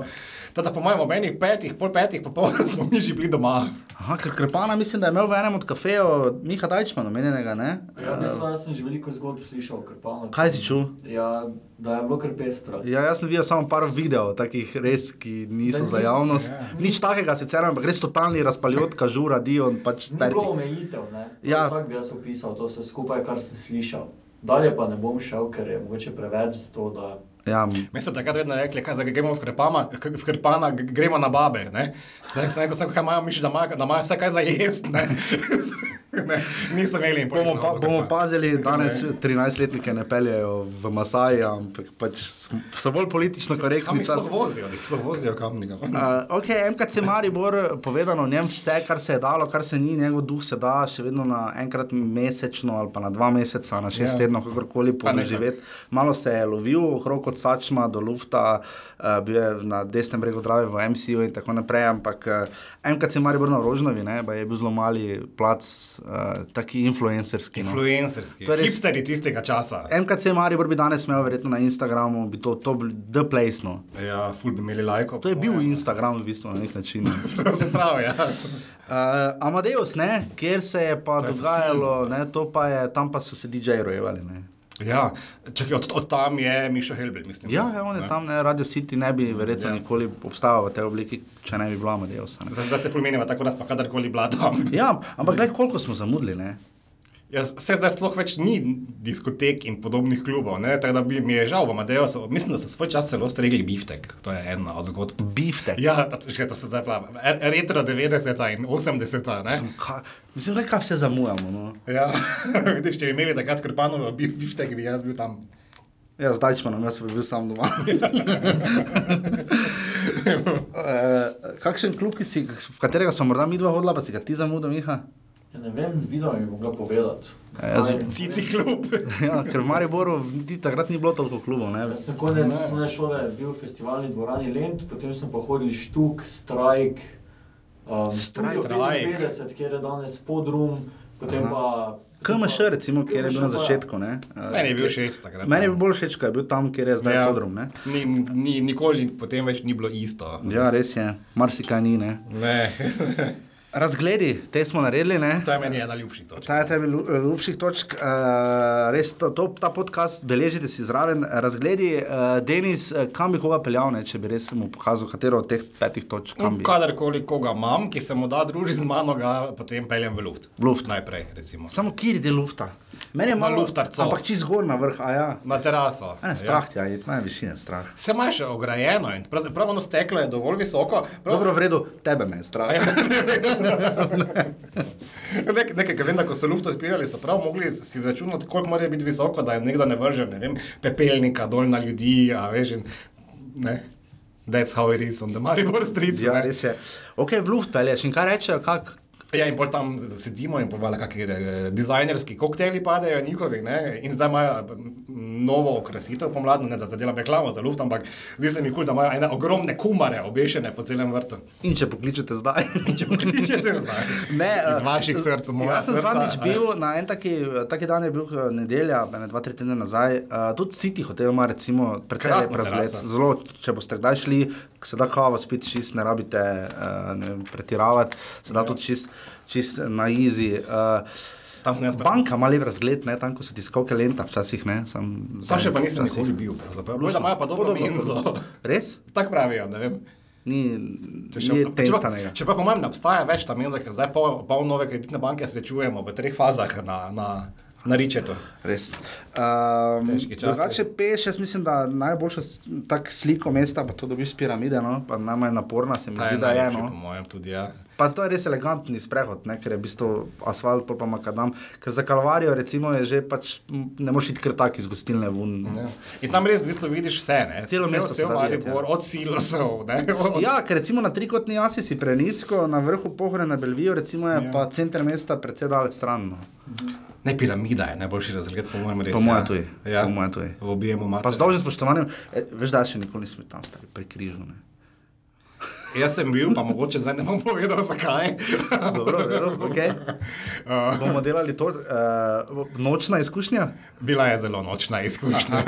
[SPEAKER 2] Teda po mojem omenih petih, pol petih popoldan smo mi že bili doma.
[SPEAKER 1] Aha, ker krpana mislim, da je imel v enem od kafejev Miha Dajčman, omenjenega, ne?
[SPEAKER 3] Ja, v bistvu, jaz sem že veliko zgodb slišal, ker pa
[SPEAKER 1] Kaj si čul?
[SPEAKER 3] Ja, da je bilo kar pestro.
[SPEAKER 1] Ja, jaz sem videl samo par videov, takih res, ki niso
[SPEAKER 3] Da ni-
[SPEAKER 1] za javnost. Nič takega sicer, ampak res totalni razpaljotka, žura, dion, pač
[SPEAKER 3] Ni bilo
[SPEAKER 1] perti.
[SPEAKER 3] omejitev, ne? To
[SPEAKER 1] Ja.
[SPEAKER 3] je Tako bi jaz opisal to vse skupaj, kar sem slišal. Dalje pa ne bom šel, ker je mogoče preveč za to, da
[SPEAKER 1] Ja, m-
[SPEAKER 2] Mi so takrat vedno rekli, kaj, zdaj, ko gremo v, krepama, k- v krpana, g- gremo na babe. ne. Zdaj sem rekel, "Saj, kaj imajo miši, da imajo, da imajo vse kaj za jesti. Nismo imeli in potem
[SPEAKER 1] bomo,
[SPEAKER 2] smo
[SPEAKER 1] pa,
[SPEAKER 2] v
[SPEAKER 1] bomo
[SPEAKER 2] Krpana.
[SPEAKER 1] pazili, danes 13-letnike ne peljejo v Masaji, ampak pač smo- so bolj politično
[SPEAKER 2] Kam
[SPEAKER 1] korektni.
[SPEAKER 2] jih sploh vozijo, da jih sploh vozijo kam nekam.
[SPEAKER 1] Uh, ok, MKC Maribor, povedano o njem vse, kar se je dalo, kar se ni, njegov duh se da še vedno na enkrat mesečno ali pa na dva meseca, na šest
[SPEAKER 2] Ja.
[SPEAKER 1] yeah. tednov, kakorkoli
[SPEAKER 2] Pa nekako.
[SPEAKER 1] podoživeti. Malo se je lovil, okrog od Sačma do Lufta, uh, bil je na desnem bregu Drave v MCU in tako naprej, ampak uh, MKC Maribor na Rožnovi ne, baje je bil zelo mali plac, uh, taki influencerski. No.
[SPEAKER 2] Influencerski.
[SPEAKER 1] To je res-
[SPEAKER 2] Hipsteri tistega časa.
[SPEAKER 1] MKC Maribor bi danes imel verjetno na Instagramu, bi to, to bil the place. No.
[SPEAKER 2] Ja, ful bi imeli lajko.
[SPEAKER 1] To je bil Instagram v bistvu na nek način. no. ne.
[SPEAKER 2] Pravzaprav, ja.
[SPEAKER 1] Uh, Amadeus, ne, kjer se je pa
[SPEAKER 2] To je
[SPEAKER 1] dogajalo, ne, to pa je, tam pa so se DJ-ji rojevali. Ne.
[SPEAKER 2] ja. Čakaj, od, od tam je Mišo Helbel, mislim.
[SPEAKER 1] Ja, ja, on je
[SPEAKER 2] Ne.
[SPEAKER 1] tam, ne, Radio City ne bi verjetno
[SPEAKER 2] Ja.
[SPEAKER 1] ja. nikoli obstajal v tej obliki, če ne bi bilo Amadeusa. Ne.
[SPEAKER 2] Zdaj zdaj se pomenimo tako, da smo kadarkoli bila tam.
[SPEAKER 1] Ja, ampak gledaj, koliko smo zamudili. Ne.
[SPEAKER 2] Ja, se zdaj sploh več ni diskotek in podobnih klubov, ne? tako da bi mi je žal, vam dejo, mislim, da so svoj čas celo stregli biftek, to je ena od zgodb.
[SPEAKER 1] Biftek.
[SPEAKER 2] Ja, to- še to se zdaj plava. Retro 90 in 80, ne?
[SPEAKER 1] Sem, ka, mislim, da kaj vse zamujamo. No.
[SPEAKER 2] Ja, vidiš, če bi imeli takrat krpanovo bif- biftek, bi jaz bil tam.
[SPEAKER 1] Ja, zdaj smo nam, jaz pa bi bil sam doma. uh, kakšen klub, ki si, v katerega so morda mi dva hodila, pa si ga ti zamudil, Miha?
[SPEAKER 3] ja, ne vem, videl bi mogla povedati.
[SPEAKER 1] Ja, jaz-
[SPEAKER 3] Kaj, ne
[SPEAKER 2] Cici
[SPEAKER 3] vem.
[SPEAKER 2] klub.
[SPEAKER 1] Ja, ker v Mariboru niti takrat ni bilo toliko klubov. Ne.
[SPEAKER 3] Jaz sem konec osnovne šole bil v festivalni dvorani Lent, potem sem pa hodil štuk, strajk, um,
[SPEAKER 1] Strajk.
[SPEAKER 3] Studio
[SPEAKER 2] Strajk.
[SPEAKER 3] 55, kjer je danes podrum, potem
[SPEAKER 1] Aha.
[SPEAKER 3] pa...
[SPEAKER 1] KMŠ, recimo, kjer je bil na
[SPEAKER 3] KMŠ pa-
[SPEAKER 1] začetku. Ne?
[SPEAKER 2] Meni je bil šest takrat. no.
[SPEAKER 1] Meni je bil bolj všeč, ko je bil tam, kjer je zdaj ja. podrum. Ne?
[SPEAKER 2] Ni, ni, nikoli potem več ni bilo isto.
[SPEAKER 1] Ja, res je, marsikaj ni. Ne?
[SPEAKER 2] Ne.
[SPEAKER 1] Razgledi, te smo naredili. Ne?
[SPEAKER 2] To je meni ena ljubših točk.
[SPEAKER 1] Ta je tebi ljubših točk, uh, res to, to, ta podcast, beležite si zraven. Razgledi, uh, Denis, eh, kam bi koga peljal, ne, če bi res mu pokazal, katero od teh petih točk kam
[SPEAKER 2] No,
[SPEAKER 1] bi.
[SPEAKER 2] Kadarkoli koga imam, ki se mu da družiti z mano, ga potem peljem v luft.
[SPEAKER 1] V luft.
[SPEAKER 2] najprej, recimo.
[SPEAKER 1] Samo kjer je del lufta. Mene je
[SPEAKER 2] Na
[SPEAKER 1] malo
[SPEAKER 2] luftarco.
[SPEAKER 1] Ampak čez zgor na vrh, a ja.
[SPEAKER 2] Na teraso.
[SPEAKER 1] Mene je strah, ja, ja mene je višine strah.
[SPEAKER 2] Se imaš še ograjeno in prav, prav ono steklo je dovolj visoko. Prav, ja.
[SPEAKER 1] Dobro, v redu, tebe me je strah.
[SPEAKER 2] Nek, nekaj, kar vem, da ko so luft odpirali, so prav mogli si začunati, koliko mora biti visoko, da je nekdo ne vrže, ne vem, pepelnika dol na ljudi, a veš, in, ne. That's how it is on the Maribor Street.
[SPEAKER 1] Ja,
[SPEAKER 2] ne.
[SPEAKER 1] res je. Ok, v luft pelješ in kaj rečejo, kak,
[SPEAKER 2] Ja, in pol tam sedimo in povali, kakšni eh, dizajnerski koktejli padajo njihovi, ne? in zdaj imajo eh, novo okrasitev pomladno, ne da zadelam reklamo za luft, ampak zdi se mi kul, da imajo ene ogromne kumare obešene po celem vrtu.
[SPEAKER 1] in če pokličete zdaj.
[SPEAKER 2] In če pokličete, zdaj. iz
[SPEAKER 1] eh,
[SPEAKER 2] vaših src, v moja
[SPEAKER 1] Jaz sem
[SPEAKER 2] srca. eh,
[SPEAKER 1] zadnjič
[SPEAKER 2] a ne.
[SPEAKER 1] bil na en taki, taki dan, je bil eh, nedelja, ene dva, tri tedne nazaj. Uh, tudi City hotel ima recimo precej
[SPEAKER 2] Krasna
[SPEAKER 1] lep razgled.
[SPEAKER 2] terasa.
[SPEAKER 1] Zelo, če boste kdaj šli, k se da kavo spiti čist, ne rabite uh, ne vem, pretiravati, se
[SPEAKER 2] Ja.
[SPEAKER 1] da tudi čist, čist na izi. Uh,
[SPEAKER 2] Tam sem jaz pa-
[SPEAKER 1] Banka ima lep razgled, ne, tam ko so ti skoke lenta, včasih ne. Sam,
[SPEAKER 2] Tam še
[SPEAKER 1] zadnjič
[SPEAKER 2] pa nisem
[SPEAKER 1] včasih.
[SPEAKER 2] nikoli bil, pravzaprav. Bolj, da imajo pa dobro
[SPEAKER 1] Podobno,
[SPEAKER 2] menzo.
[SPEAKER 1] podobno. Res?
[SPEAKER 2] Tako pravijo, ne vem.
[SPEAKER 1] Ni,
[SPEAKER 2] Če
[SPEAKER 1] ni
[SPEAKER 2] če pa-
[SPEAKER 1] tenstanega.
[SPEAKER 2] Če pa po mojem ne obstaja več ta menza, ker zdaj pol, pol nove kreditne banke srečujemo v treh fazah na, na, na Ričetu.
[SPEAKER 1] Res. Um,
[SPEAKER 2] Težki časi.
[SPEAKER 1] drugače, peš, jaz mislim, da najboljša s- tak sliko mesta, pa to dobiš s piramide, no? pa najmanj naporna se mi
[SPEAKER 2] Ta
[SPEAKER 1] zdi,
[SPEAKER 2] je
[SPEAKER 1] da je.
[SPEAKER 2] najlepši, Po
[SPEAKER 1] No?
[SPEAKER 2] mojem tudi, ja.
[SPEAKER 1] Pa to je res elegantni sprehod, ne? ker je v bistvu asfalt, pol pa makadam. Ker za kalvarijo recimo je že pač, m, ne moreš iti kar tak iz gostilne vun.
[SPEAKER 2] Ja. In tam res v bistvu vidiš vse, ne?
[SPEAKER 1] Celo mesto se
[SPEAKER 2] cel
[SPEAKER 1] da videti,
[SPEAKER 2] Maribor, od silosov, ne? Od...
[SPEAKER 1] Ja, ker recimo na trikotni jasi si prenisko, na vrhu pohore na Belvijo, recimo je
[SPEAKER 2] Ja.
[SPEAKER 1] ja. pa center mesta precej daleč stran. No.
[SPEAKER 2] Ne, piramida je najboljši razgled, po mojem res.
[SPEAKER 1] Po mojem
[SPEAKER 2] ja.
[SPEAKER 1] tudi,
[SPEAKER 2] Ja.
[SPEAKER 1] po mojem tudi.
[SPEAKER 2] V objemu mater.
[SPEAKER 1] Pa z dolžnim spoštovanjem, e, veš, da še nikoli nismo tam stali, prekrižene.
[SPEAKER 2] Jaz sem bil, pa mogoče zdaj ne bom povedal, zakaj.
[SPEAKER 1] Dobro, dobro, okay.
[SPEAKER 2] Uh,
[SPEAKER 1] bomo delali to, uh, nočna izkušnja.
[SPEAKER 2] Bila je zelo nočna izkušnja.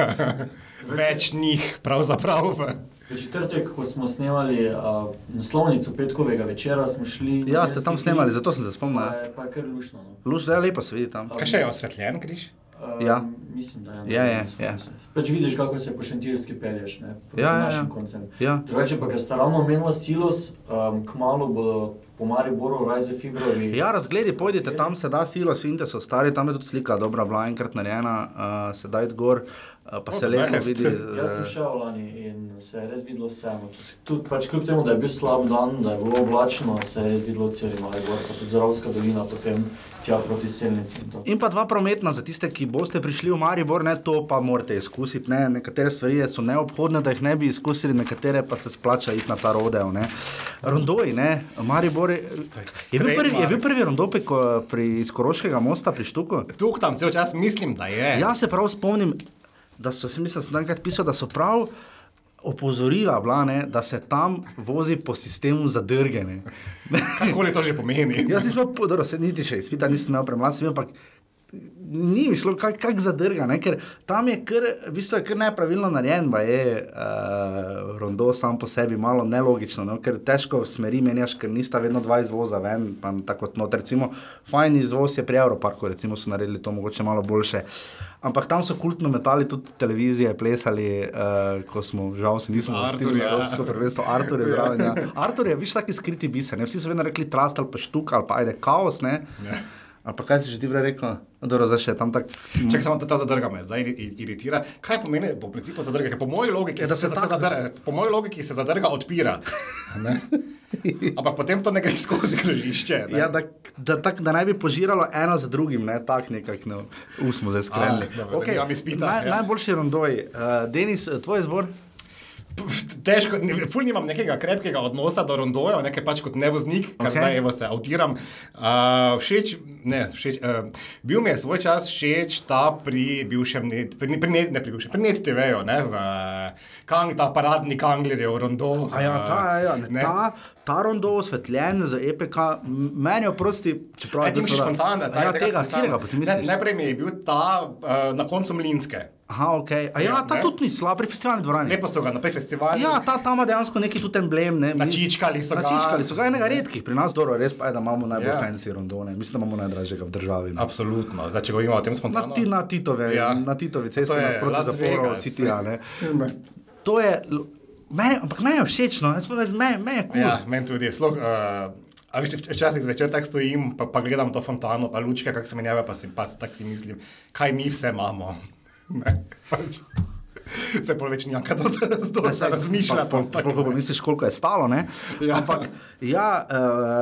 [SPEAKER 2] Več njih, pravzaprav. v-
[SPEAKER 3] V četrtek, ko smo snemali uh, naslovnico petkovega večera, smo šli.
[SPEAKER 1] Ja, ste tam snemali, zato sem se spomnil.
[SPEAKER 3] Pa je, pa je kar lušno. No.
[SPEAKER 1] Luž, zelo lepo se vidi tam.
[SPEAKER 2] Kaj še je osvetljen, križ?
[SPEAKER 3] Uh,
[SPEAKER 1] Ja.
[SPEAKER 3] Mislim, da je.
[SPEAKER 1] Ja, ja,
[SPEAKER 3] mislim,
[SPEAKER 1] ja.
[SPEAKER 3] da se- Pač vidiš, kako se po šentirski pelješ, ne? Proti
[SPEAKER 1] Ja, ja, ja.
[SPEAKER 3] našim koncem.
[SPEAKER 1] Ja.
[SPEAKER 3] Drugače pa, ker sta ravno omenila silos, um, kmalo bo po Mariboru, Rajze Fibrovi.
[SPEAKER 1] Ja, razgledi, pojdite tam, se da silo, sinte so stari, tam je tudi slika, dobra, bila enkrat narejena, uh, se da id gor, uh, pa
[SPEAKER 2] O,
[SPEAKER 1] se lepo
[SPEAKER 2] best.
[SPEAKER 1] vidi.
[SPEAKER 3] Oh, Jaz sem šel lani in se je res videlo vse. no. Tudi- Tudi pač kljub temu, da je bil slab dan, da je bilo oblačno, se je res videlo cel Maribor, pa tudi Dravska dolina, potem tja proti Selnici in to.
[SPEAKER 1] In pa dva prometna za tiste, ki boste prišli v Maribor, ne, to pa morate izkusiti. Ne. Nekatere stvari so neobhodne, da jih ne bi izkusili, nekatere pa se splača iti na ta rodeo. Ne. Rondoji, ne, Maribor je, je, bil prvi, je bil prvi rondopek ko- pri, iz Koroškega mosta pri Štuku.
[SPEAKER 2] Tu tam cel čas mislim, da je.
[SPEAKER 1] Jaz se prav spomnim, da so, mislim, da sem enkrat pisal, da so prav opozorila, bila, ne, da se tam vozi po sistemu zadrgene.
[SPEAKER 2] Kakoli to že pomeni.
[SPEAKER 1] Jaz nisem imel, dobro, se niti še izpita, nisem imel premlad, sem bil, ampak ni mi šlo, kako kak zadrga, ne, ker tam je kar, v bistvu je kar nepravilno narejen, pa je uh, rondo sam po sebi malo nelogično, no, ker težko smeri menjaš, ker nista vedno dva izvoza ven, pa tako kot not. Recimo, fajn izvoz je pri Evroparku, recimo so naredili to mogoče malo boljše. Ampak tam so kultno metali tudi televizije, plesali, uh, ko smo, žal, se nismo
[SPEAKER 2] Artur,
[SPEAKER 1] vrstili na
[SPEAKER 2] ja.
[SPEAKER 1] Evropsko prvenstvo, Artur je zraven. Ja. Artur je, viš, taki skriti biser. Ne? Vsi so vedno rekli trast ali pa štuk ali pa ajde kaos. Ne?
[SPEAKER 2] Ja.
[SPEAKER 1] Ali pa kaj si že ti prej rekel? No, Dobro, zdaj še je tam tako.
[SPEAKER 2] Če samo ta- ta zadrga me zdaj i- i- iritira. Kaj pomeni po principu zadrga? Ker po moji logiki,
[SPEAKER 1] Ja, da se
[SPEAKER 2] se,
[SPEAKER 1] tak
[SPEAKER 2] zadrga, po moji logiki se zadrga odpira. Ne? Ampak potem to ne gre skozi križišče. Ne?
[SPEAKER 1] Ja, da, da, tak, da naj bi požiralo eno za drugim, ne tako nekako, no, usmo zdaj sklenili.
[SPEAKER 2] A, dobro, da nimam izpita,
[SPEAKER 1] naj,
[SPEAKER 2] ja.
[SPEAKER 1] Najboljši rondoj. Uh, Denis, eh, tvoj izbor?
[SPEAKER 2] Pf, Težko, ne- ful nimam nekega krepkega odnosa do rondoja, nekaj pač kot nevoznik, kar
[SPEAKER 1] Ok.
[SPEAKER 2] okay. zdaj evo se avtiram. Uh, všeč, ne, všeč, uh, bil mi je svoj čas všeč ta pri bivšem, net, pri, pri net, ne pri bivšem, pri net TV-ju, ne, v kang, ta paradni kanglerjev rondo.
[SPEAKER 1] A ja, ta,
[SPEAKER 2] eh,
[SPEAKER 1] ja, ja, ne, ne. ta, ta rondo osvetljen za EPK, m- meni je oprosti, čeprav
[SPEAKER 2] Aj, ti e, misliš fontane,
[SPEAKER 1] Ja, tega, katerega pa ti misliš?
[SPEAKER 2] Ne, najprej mi je bil ta uh, na e, koncu mlinske.
[SPEAKER 1] Aha, ok. A ja,
[SPEAKER 2] Ja,
[SPEAKER 1] ta
[SPEAKER 2] ne.
[SPEAKER 1] tudi ni slab pri festivalni dvorani.
[SPEAKER 2] Lepo so ga na pej festivalu.
[SPEAKER 1] Ja, ta tam ima dejansko neki tudi emblem. Ne, mis-
[SPEAKER 2] Načičkali so ga.
[SPEAKER 1] Načičkali so ga, enega redkih, pri nas dobro, res pa je, da imamo najbolj
[SPEAKER 2] Ja.
[SPEAKER 1] yeah. fancy rondone, mislim, da imamo najdražjega v državi. no.
[SPEAKER 2] Absolutno. Zdaj, če govorimo o tem
[SPEAKER 1] Na,
[SPEAKER 2] spontano.
[SPEAKER 1] ti, na, titove,
[SPEAKER 2] Ja.
[SPEAKER 1] ja. na Titovi
[SPEAKER 2] To
[SPEAKER 1] cesti,
[SPEAKER 2] je
[SPEAKER 1] nasproti
[SPEAKER 2] Las
[SPEAKER 1] zaporo,
[SPEAKER 2] Vegas.
[SPEAKER 1] City. To je, l- meni- ampak meni je všeč, no, jaz pa rečem, meni meni je kul.
[SPEAKER 2] Ja, meni tudi je slog. Uh, A veš, vč- včasih zvečer tako stojim, pa, pa gledam to fontano, pa lučke, kako se menjava, pa si pa tako si mislim, kaj mi vse imamo. Ne, pač. Se pol več nijaka to
[SPEAKER 1] Saj,
[SPEAKER 2] razmišlja.
[SPEAKER 1] pa- pa- Sploh ko pomisliš, koliko je stalo. ne.
[SPEAKER 2] Ja, ampak
[SPEAKER 1] Ja, uh,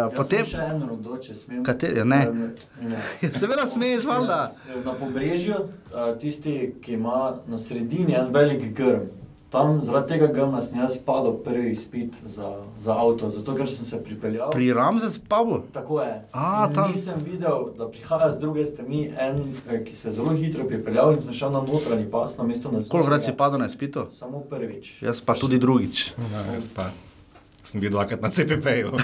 [SPEAKER 3] Jaz
[SPEAKER 1] potem.
[SPEAKER 3] sem še en rodoče, smem.
[SPEAKER 1] Kateri? Ne.
[SPEAKER 3] Eh, ne.
[SPEAKER 1] Seveda smeš, valjda.
[SPEAKER 3] Ne. Ja, Na pobrežju, eh, tisti, ki ima na sredini en velik grm, tam zaradi tega grma sem jaz padel prvi izpit za, za avto, zato ker sem se pripeljal.
[SPEAKER 1] Pri Ramzes pubu.
[SPEAKER 3] Tako je.
[SPEAKER 1] A,
[SPEAKER 3] In
[SPEAKER 1] tam-
[SPEAKER 3] Nisem videl, da prihaja z druge strani en, eh, ki se je zelo hitro pripeljal in sem šel na notranji pas, na mesto na zunanji.
[SPEAKER 1] Kolikrat si padel na spito?
[SPEAKER 3] Samo prvič.
[SPEAKER 1] Jaz pa tudi drugič.
[SPEAKER 2] ja, jaz pa sem bil dvakrat na CPP-ju.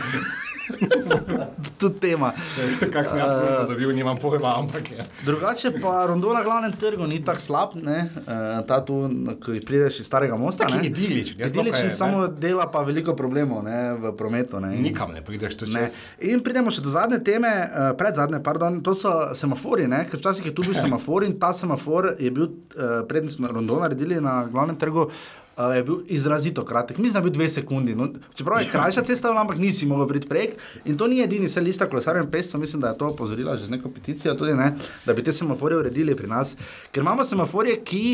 [SPEAKER 1] Tudi tema.
[SPEAKER 2] Kako sem jaz uh, dobil, nimam pojma, ampak je.
[SPEAKER 1] Drugače pa rondo na glavnem trgu ni tako slab, ne? Eh, ta tu, na- ko prideš iz starega mosta.
[SPEAKER 2] Taki
[SPEAKER 1] ne.
[SPEAKER 2] idiličen, jaz dokaj,
[SPEAKER 1] Idiličen
[SPEAKER 2] ne.
[SPEAKER 1] samo dela pa veliko problemov ne? v prometu. Ne? In-
[SPEAKER 2] Nikam ne prideš tu
[SPEAKER 1] Ne.
[SPEAKER 2] čez.
[SPEAKER 1] In pridemo še do zadnje teme, eh, pred zadnje, pardon, to so semafori, ne? ker včasih je tu bil
[SPEAKER 2] Ja.
[SPEAKER 1] semafor in ta semafor je bil, eh, predtem smo rondo naredili na glavnem trgu. eh, Je bil izrazito kratek, mislim, da je bil dve sekundi. No, čeprav je krajša cesta, bila, ampak nisi mogel priti prek. In to ni edini, se lista kolesarjem pesem, mislim, da je to opozorila že z neko peticijo, tudi, ne, da bi te semaforje uredili pri nas. Ker imamo semaforje, ki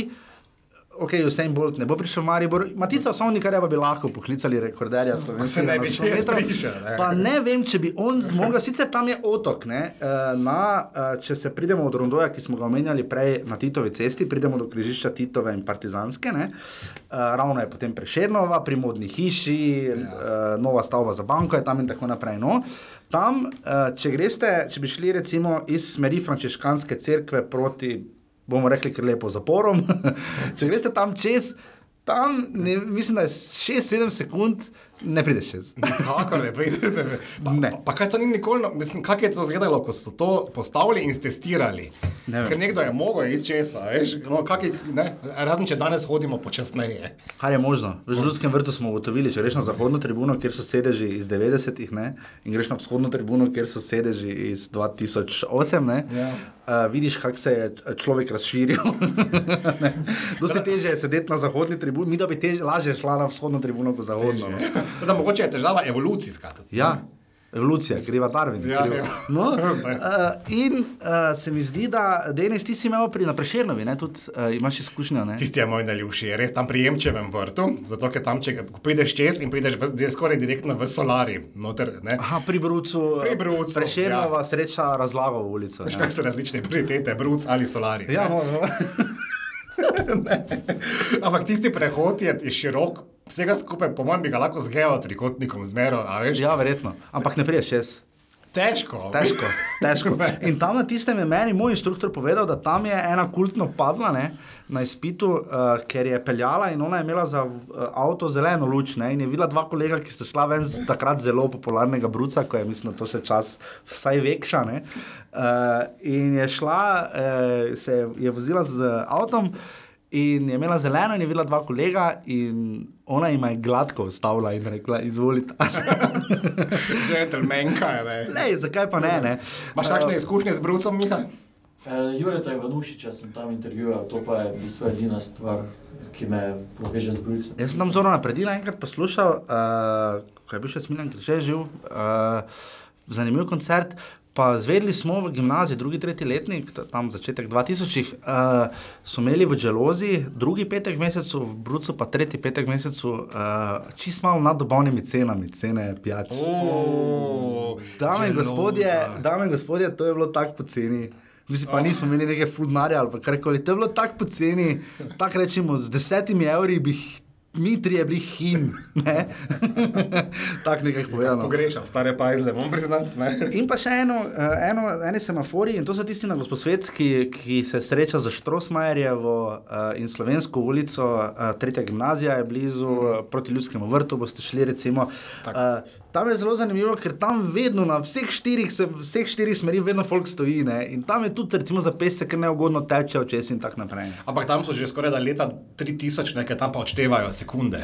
[SPEAKER 1] Ok, Usain Bolt ne bo prišel v Maribor, Matica Sovnikarja pa bi lahko poklicali rekorderja
[SPEAKER 2] Se
[SPEAKER 1] slovenskega
[SPEAKER 2] ne bi
[SPEAKER 1] na 100
[SPEAKER 2] čez
[SPEAKER 1] metrov.
[SPEAKER 2] prišel, ne.
[SPEAKER 1] Pa ne vem, če bi on zmogel, sicer tam je otok, ne, eh, na, eh, če se pridemo od Rondoja, ki smo ga omenjali prej na Titovi cesti, pridemo do križišča Titove in Partizanske, ne, eh, ravno je potem Prešernova, pri modni hiši, eh, nova stavba za banko je tam in tako naprej. No. Tam, eh, če greste, če bi šli recimo iz smeri frančiškanske cerkve proti, bomo rekli, kar lepo zaporom, če greste tam čez, tam ne, mislim, da je 6-7 sekund, ne prideš čez.
[SPEAKER 2] Kako ne pridete? Pa,
[SPEAKER 1] Ne.
[SPEAKER 2] pa, pa kaj to ni nikoli, na- mislim, kako je to izgledalo, ko so to postavili in testirali.
[SPEAKER 1] Ne vem.
[SPEAKER 2] Ker nekdo je mogel iti česa, veš, no, kak je, ne, razen če danes hodimo počasneje.
[SPEAKER 1] Kar je možno. V Žuljskem vrtu smo ugotovili, če greš na zahodno tribuno, kjer so sedeži iz 90-ih, ne, in greš na vzhodno tribuno, kjer so sedeži iz 2008, ne,
[SPEAKER 2] Ja.
[SPEAKER 1] uh, vidiš, kako se je č- človek razširil. Ne. Dosti teže je sedeti na zahodni tribuni, mi da bi tež, lažje šla na vzhodno tribuno kot zahodno. no.
[SPEAKER 2] Tako Da, mogoče je težava evolucijska.
[SPEAKER 1] Ja, evolucija, kriva Darwin.
[SPEAKER 2] Ja,
[SPEAKER 1] kriva.
[SPEAKER 2] ja.
[SPEAKER 1] No,
[SPEAKER 2] Ne.
[SPEAKER 1] uh, in uh, se mi zdi, da Denis, ti si imel pri Naprešernovi, ne, tudi uh, imaš izkušnjo. Ne?
[SPEAKER 2] Tisti je moj najljubši, je res tam pri Jemčevem vrtu, zato ker tam, če ko prideš čez in prideš v, je skoraj direktno v solari, noter, ne.
[SPEAKER 1] Aha, pri Brucu, eh,
[SPEAKER 2] Pri Brucu,
[SPEAKER 1] Prešernova ja. sreča razlago v ulico.
[SPEAKER 2] Veš,
[SPEAKER 1] Ja.
[SPEAKER 2] kaj so različne prioritete, bruc ali solari.
[SPEAKER 1] Ja, no, no.
[SPEAKER 2] Ampak tisti prehod je, je širok, vsega skupaj, po mojem, bi ga lahko z geotrikotnikom zmeral, a veš,
[SPEAKER 1] ja, verjetno. Ampak ne priješ čez.
[SPEAKER 2] težko.
[SPEAKER 1] Težko, težko. In tam na tistem je meni moj inštruktor povedal, da tam je ena kultno padla ne, na izpitu, uh, ker je peljala in ona je imela za uh, avto zeleno luč. Ne, in je videla dva kolega, ki sta šla ven z takrat zelo popularnega Bruca, ko je, mislim, da to se čas vsaj vekša. Ne, uh, in je šla, uh, se je- je vozila z avtom. In je imela zeleno, in je videla dva kolega, in ona jima je gladko ustavila in rekla: Izvolite.
[SPEAKER 2] Džentlmenka je. ne.
[SPEAKER 1] Lej, zakaj pa ne? ne?
[SPEAKER 2] Imaš kakšne izkušnje z Brucem, Miha?
[SPEAKER 3] Eh, Jureta Ivanušiča sem tam intervjuval, to pa je v bistvu edina stvar, ki me poveže z Bruslom.
[SPEAKER 1] Jaz sem tam zelo napredil, enkrat poslušal, uh, kaj bi še smiljen, ker že živ. Uh, zanimiv koncert. Pa zvedeli smo v gimnaziji, drugi, tretji letnik, to je tam začetek 2000, uh, so imeli v Dželozi, drugi petek v mesecu, v Brucu pa tretji petek v mesecu, uh, čist malo nad dobavnimi cenami, cene pijač. Dame in, gospodje, dame in gospodje, to je bilo tako poceni. Mislim, pa nismo imeli neke fudnare ali pa karkoli. To je bilo tako poceni, tako rečemo, z desetimi evri bi jih mi trije bili him. Ne? Tako nekaj povedano.
[SPEAKER 2] Pogrešam stare pajzle, moram priznati. ne.
[SPEAKER 1] In pa še eno, eh, eno eni semafori, in to so tisti na gospodsvetski, ki se sreča za Štrosmajerjevo eh, in slovensko ulico, eh, tretja gimnazija je blizu eh, proti ljudskemu vrtu, boste šli recimo. Eh, Tam je zelo zanimivo, ker tam vedno na vseh štirih, se, vseh štirih smerih vedno folk stoji ne? in tam je tudi recimo za pesek kar neugodno teče očes in tako naprej.
[SPEAKER 2] Ampak tam so že skoraj da leta 3000, nekaj tam pa odštevajo sekunde.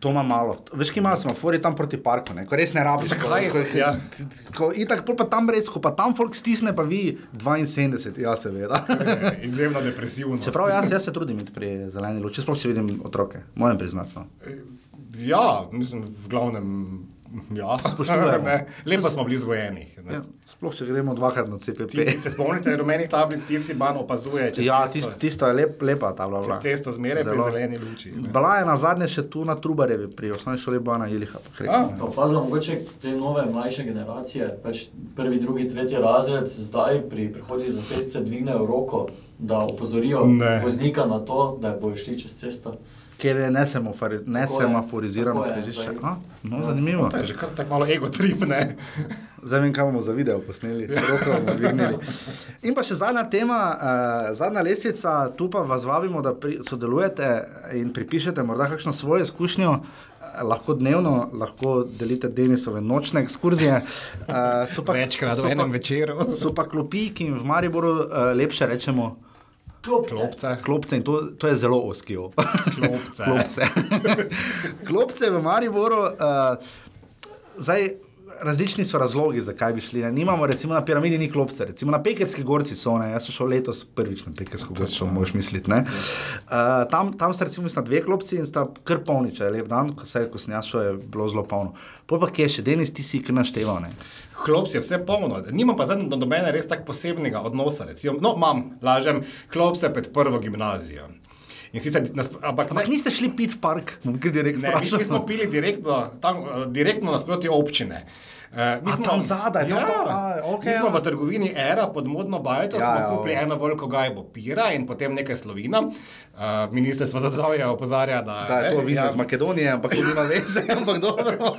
[SPEAKER 1] To ima malo. To- Veš, ki ima semafor, je tam proti parku, ne? ko res ne rabiš.
[SPEAKER 2] Zakaj
[SPEAKER 1] ko,
[SPEAKER 2] je- ja.
[SPEAKER 1] ko, itak, pol pa tam res, ko pa tam folk stisne, pa vi 72, ja seveda.
[SPEAKER 2] Je Izjemno depresivno.
[SPEAKER 1] Čeprav ja- jaz, jaz se trudim iti pri zeleni luči, sploh če vidim otroke, moram priznati. No.
[SPEAKER 2] Ja, mislim, v glavnem. Ja,
[SPEAKER 1] Spoštujemo.
[SPEAKER 2] Ne, Lepo smo bili vzgojeni. ne.
[SPEAKER 1] Ja, sploh če gremo dvakrat na CPP.
[SPEAKER 2] Cici, se spomnite, rumenih tablic, cici ban opazuje. čez
[SPEAKER 1] Ja,
[SPEAKER 2] cesto.
[SPEAKER 1] tisto, tisto je lep, lepa ta vlada.
[SPEAKER 2] Čez cesto zmeraj pri
[SPEAKER 1] Zelo.
[SPEAKER 2] zeleni luči. ne.
[SPEAKER 1] Bila je na zadnje še tu na Trubarjevi, pri osnovni šoli bila na Ilih.
[SPEAKER 3] Pa pazim, mogoče te nove mlajše generacije, pač prvi, drugi, tretji razred, zdaj pri prihodih za pešce dvignejo roko, da opozorijo
[SPEAKER 2] Ne.
[SPEAKER 3] voznika na to, da bojo šli čez cesto.
[SPEAKER 1] Ker je nesemofari-
[SPEAKER 3] Tako je,
[SPEAKER 1] nesemaforizirano
[SPEAKER 3] tako je,
[SPEAKER 1] križišče.
[SPEAKER 3] zdaj.
[SPEAKER 1] A, No, zanimivo.
[SPEAKER 2] To je že kar tako malo ego trip, ne?
[SPEAKER 1] Zdaj vem, kam bomo za video posneli, roko bomo dvignili. In pa še zadnja tema, uh, zadnja lestica, tu pa vas vabimo, da pri, sodelujete in pripišete morda kakšno svojo izkušnjo. eh, Lahko dnevno, lahko delite Denisove nočne ekskurzije. Uh, so pa,
[SPEAKER 2] Večkrat
[SPEAKER 1] so
[SPEAKER 2] v
[SPEAKER 1] pa-
[SPEAKER 2] enem večeru.
[SPEAKER 1] So pa klopi, ki jim v Mariboru uh, lepše rečemo
[SPEAKER 3] Klopce.
[SPEAKER 2] Klopce.
[SPEAKER 1] klopce in to, to je zelo oskijo.
[SPEAKER 2] Klopce.
[SPEAKER 1] klopce. klopce v Mariboru. Uh, zdaj, različni so razlogi, zakaj bi šli. Ne? Nimamo, recimo, na piramidi ni klopce, recimo na Pekerski gorci so. Ne? Jaz sem šel letos prvič na Pekersko gorco, moš misliti. ne. Uh, tam, tam sta recimo mislim, dve klopci in sta kar polni, če je lep dan, ko vse, ko sem jaz šel, je bilo zelo polno. Pol pa kje še, Denis, ti si kar našteval. Ne?
[SPEAKER 2] Klops je vse polno, nimam pa zdaj do nobene res tako posebnega odnosa. Recimo, no, imam, lažem, klop se pred prvo gimnazijo. In sicer, nas, ampak ne,
[SPEAKER 1] Ampak niste šli pit v park, kaj direkt
[SPEAKER 2] ne, mi, mi smo
[SPEAKER 1] sprašujem.
[SPEAKER 2] pili direktno, tam, eh, direktno nasproti občine. Uh,
[SPEAKER 1] A, tam zadaj, tam
[SPEAKER 2] ja,
[SPEAKER 1] to- a, okej,
[SPEAKER 2] mi smo
[SPEAKER 1] ja.
[SPEAKER 2] v trgovini Era pod modno bajto,
[SPEAKER 1] Ja,
[SPEAKER 2] ja,
[SPEAKER 1] ja,
[SPEAKER 2] smo kupili
[SPEAKER 1] ja.
[SPEAKER 2] eno veliko gajbo pira in potem nekaj slovina. Uh, Ministrstvo za zdravje opozarja, da, Ja,
[SPEAKER 1] Da, je to
[SPEAKER 2] ne,
[SPEAKER 1] vino iz Makedonije, ampak to nima veze, ampak dobro.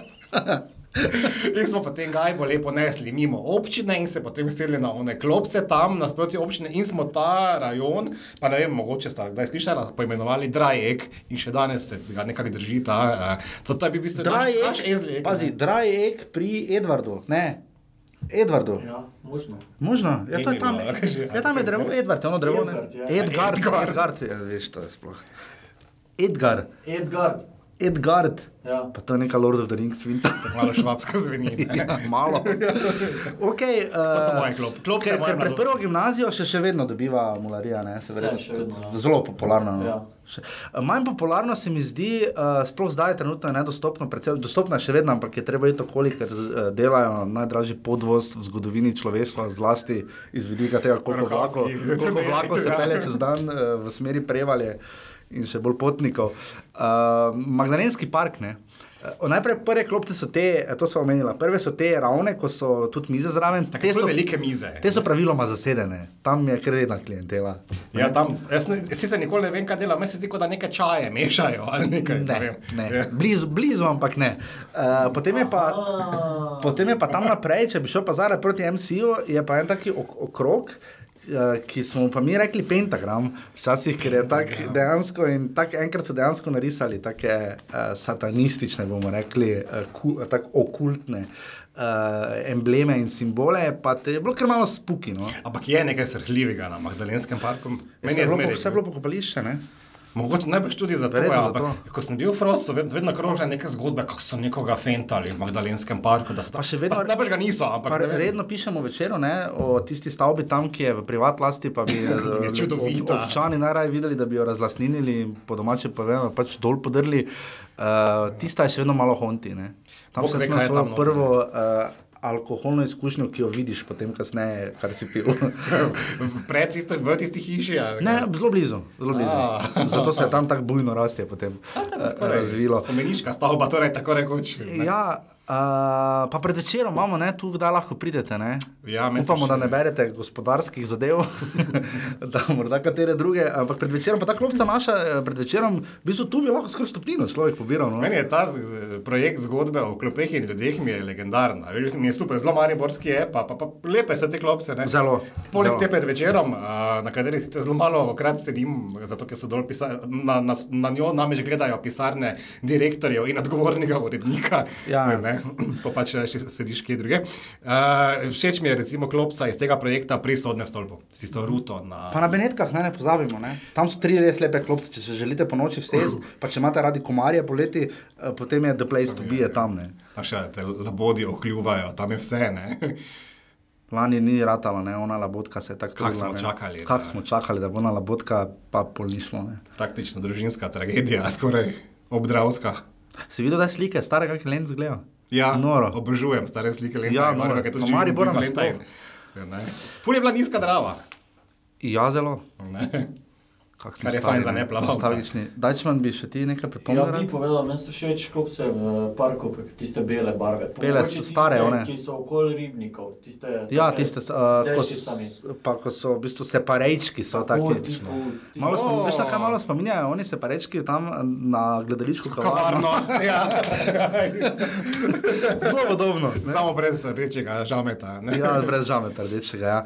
[SPEAKER 2] In smo potem gajbo lepo nesli mimo občine in se potem sedli na one klopce tam nasproti občine in smo ta rajon, pa ne vem, mogoče sta kdaj slišala, poimenovali Drajek in še danes se ga nekako drži ta. eh, To, to je bil v bistvu naš, naš eh,
[SPEAKER 1] Drajek,
[SPEAKER 2] ezlek.
[SPEAKER 1] pazi, Drajek pri Edvardu, ne, Edvardu.
[SPEAKER 3] Ja, možno.
[SPEAKER 1] Možno, ja, to
[SPEAKER 2] Minimum,
[SPEAKER 1] je tam,
[SPEAKER 2] ali kaj že,
[SPEAKER 1] ja, tam je drevo, Edvard, je ono drevo, ne,
[SPEAKER 3] Edgard, ja.
[SPEAKER 1] Edgard,
[SPEAKER 2] Edgard.
[SPEAKER 1] Edgard, ja, veš, to je sploh. Edgar,
[SPEAKER 3] Edgard.
[SPEAKER 1] Edgard,
[SPEAKER 3] Ja.
[SPEAKER 1] pa to je neka Lord of the Rings vinta.
[SPEAKER 2] Malo švabsko zveni. ne.
[SPEAKER 1] Ja, malo. Okay,
[SPEAKER 2] To so
[SPEAKER 1] uh,
[SPEAKER 2] moje klop. Klop
[SPEAKER 1] ker,
[SPEAKER 2] se
[SPEAKER 1] ker
[SPEAKER 2] moje
[SPEAKER 1] pred prvo
[SPEAKER 2] mladosti.
[SPEAKER 1] gimnazijo še, še vedno dobiva mularija, ne, se
[SPEAKER 3] Vse
[SPEAKER 1] verjetno
[SPEAKER 3] še vedno,
[SPEAKER 1] tudi
[SPEAKER 3] ja.
[SPEAKER 1] zelo popularna. No.
[SPEAKER 3] Ja.
[SPEAKER 1] Še- Manj popularno se mi zdi, uh, sploh zdaj, trenutno je nedostopno, predvsem dostopno je še vedno, ampak je treba iti okoli, ker uh, delajo najdražji podvoz v zgodovini človeštva, zlasti iz vidika tega, koliko vlakov
[SPEAKER 2] Rokovski.
[SPEAKER 1] koliko vlakov se
[SPEAKER 2] Ja.
[SPEAKER 1] pele čez dan uh, v smeri prevalje in še bolj potnikov. Uh, Magdalenski park. Ne? Uh, najprej prve klopce so te, eh, to smo omenili, prve so te ravne, ko so tudi mize zraven.
[SPEAKER 2] Tako
[SPEAKER 1] Te
[SPEAKER 2] so
[SPEAKER 1] so,
[SPEAKER 2] velike mize.
[SPEAKER 1] te so praviloma zasedene, tam je kar redna klientela.
[SPEAKER 2] Ja, tam, jaz ne, sicer nikoli ne vem, kaj delam, meni se zdi, kot da neke čaje mešajo ali nekaj.
[SPEAKER 1] Ne,
[SPEAKER 2] vem. Ja.
[SPEAKER 1] ne. Blizu, blizu, ampak ne. Uh, potem je pa.
[SPEAKER 3] Ah,
[SPEAKER 1] Potem je pa tam naprej, če bi šel pa zdaj proti MCU, je pa en taki ok okrog. eh, Ki smo mu pa mi rekli pentagram, včasih, ker je tako
[SPEAKER 2] Ja.
[SPEAKER 1] dejansko in tako enkrat so dejansko narisali take uh, satanistične, bomo rekli, uh, ku, tako okultne uh, embleme in simbole, pa te je bilo kar malo spuki. No.
[SPEAKER 2] Ampak je nekaj srhljivega na Magdalenskem parku. Meni je
[SPEAKER 1] Vse je bilo,
[SPEAKER 2] zmeraj
[SPEAKER 1] vse je bilo pokopališče, ne?
[SPEAKER 2] Mogoče najbrž tudi zato,
[SPEAKER 1] Verjetno
[SPEAKER 2] ja, ampak
[SPEAKER 1] zato.
[SPEAKER 2] ko sem bil v Frostu, ved, vedno krožijo neke zgodbe, kako so nekoga fentali v Magdalenskem parku. Da so
[SPEAKER 1] Pa še vedno-
[SPEAKER 2] pa najbrž ga niso, ampak
[SPEAKER 1] Pa
[SPEAKER 2] ne vem.
[SPEAKER 1] redno pišemo večer o tisti stavbi tam, ki je v privat lasti, pa bi eh, ob-
[SPEAKER 2] čudovita.
[SPEAKER 1] občani najraje videli, da bi jo razlastninili in po domače povedano pač dol podrli. Uh, tista je še vedno malo honti. Ne? Tam
[SPEAKER 2] Bog ve,
[SPEAKER 1] sem
[SPEAKER 2] kaj
[SPEAKER 1] imel
[SPEAKER 2] je
[SPEAKER 1] svojo
[SPEAKER 2] tam noter,
[SPEAKER 1] prvo uh, alkoholno izkušnjo, ki jo vidiš potem kasneje, kar si pil.
[SPEAKER 2] Pred tisto, v tisti hiši. ja. ali
[SPEAKER 1] Ne,
[SPEAKER 2] kaj.
[SPEAKER 1] zelo blizu, zelo blizu.
[SPEAKER 2] A.
[SPEAKER 1] Zato se je tam tako bujno rastje potem
[SPEAKER 2] A, Ah. tam je
[SPEAKER 1] eh,
[SPEAKER 2] skoraj
[SPEAKER 1] razvilo.
[SPEAKER 2] Spomeniška stavba, torej tako rekoč. ne.
[SPEAKER 1] Ja, Uh, pa pred večerom imamo, ne, tu kdaj lahko pridete. Ne?
[SPEAKER 2] Ja, mesec
[SPEAKER 1] Upamo,
[SPEAKER 2] še
[SPEAKER 1] da ne berete gospodarskih zadev, da morda katere druge, ampak pred večerom, pa ta klopca naša, eh, pred večerom, v bistvu tu bi lahko skrb stopnino človek pobiral. No?
[SPEAKER 2] Meni je ta z- z- projekt zgodbe o klopeh in ljudeh mi je legendarna. Veš, mi je super, zelo mariborski je, pa, pa, pa lepe so te klopce. Ne?
[SPEAKER 1] Zelo,
[SPEAKER 2] Poleg
[SPEAKER 1] zelo.
[SPEAKER 2] te pred večerom, a, na kateri sicer zelo malo krat sedim, zato ker so dol pisa- na, na, s- na njo namreč gledajo pisarne direktorjev in odgovornega urednika.
[SPEAKER 1] Ja.
[SPEAKER 2] Ne? Pa pač še sediš kje druge. Uh, všeč mi je recimo klopca iz tega projekta pri sodnem stolpu, si to ruto na...
[SPEAKER 1] Pa na Benetkah ne, ne pozabimo, ne? tam so tri res lepe klopce, če se želite po noči vsesti, pa če imate radi komarje poleti, eh, potem je The Place to be je tam. Ne?
[SPEAKER 2] Tam še te labodje okljuvajo, tam je vse. Ne?
[SPEAKER 1] Lani ni ratala, ne? ona labotka se je tako
[SPEAKER 2] Kako
[SPEAKER 1] trudila,
[SPEAKER 2] smo
[SPEAKER 1] ne.
[SPEAKER 2] čakali, da-
[SPEAKER 1] Kako smo čakali, da bo ona labotka, pa pol ni šlo. Ne?
[SPEAKER 2] Praktično družinska tragedija, skoraj obdravska.
[SPEAKER 1] Si videl, da je slike, stare kakšne lens gledajo?
[SPEAKER 2] Ja,
[SPEAKER 1] Noro.
[SPEAKER 2] Obožujem stare slike Lenta.
[SPEAKER 1] Ja,
[SPEAKER 2] in
[SPEAKER 1] noro.
[SPEAKER 2] Marka, ki tudi
[SPEAKER 1] Pa
[SPEAKER 2] živim
[SPEAKER 1] Maribora
[SPEAKER 2] blizu Lenta
[SPEAKER 1] nasploh.
[SPEAKER 2] in- Ja, ne. Ful je bila nizka drava.
[SPEAKER 1] Ja, zelo.
[SPEAKER 2] Ne.
[SPEAKER 1] Kak smo
[SPEAKER 2] Kar je
[SPEAKER 1] stari,
[SPEAKER 2] fajn za
[SPEAKER 1] ne?
[SPEAKER 2] neplavalca.
[SPEAKER 1] Nostalgični. Dajčman bi še ti nekaj
[SPEAKER 3] Ja,
[SPEAKER 1] pripomnil?
[SPEAKER 3] bi
[SPEAKER 1] rad?
[SPEAKER 3] povedal, meni so všeč klopce v parku, pe- tiste bele barve. Pa
[SPEAKER 1] Bele,
[SPEAKER 3] mogoče
[SPEAKER 1] stare
[SPEAKER 3] tiste,
[SPEAKER 1] one.
[SPEAKER 3] Ki so okoli ribnikov, tiste.
[SPEAKER 1] Ja,
[SPEAKER 3] take
[SPEAKER 1] tiste,
[SPEAKER 3] z
[SPEAKER 1] uh, ko,
[SPEAKER 3] dežicami.
[SPEAKER 1] s- pa, ko so v bistvu separejčki, so
[SPEAKER 3] Tako,
[SPEAKER 1] tako tipični.
[SPEAKER 3] tipo, tisto-
[SPEAKER 1] Malo spominjajo, veš, na kaj
[SPEAKER 2] O.
[SPEAKER 1] malo spominjajo, oni separejčki tam na gledališču kavarno.
[SPEAKER 2] Kavarno. Ja.
[SPEAKER 1] Zelo podobno. ne?
[SPEAKER 2] Samo brez rdečega žameta. ne.
[SPEAKER 1] Ja, brez žameta rdečega. Ja.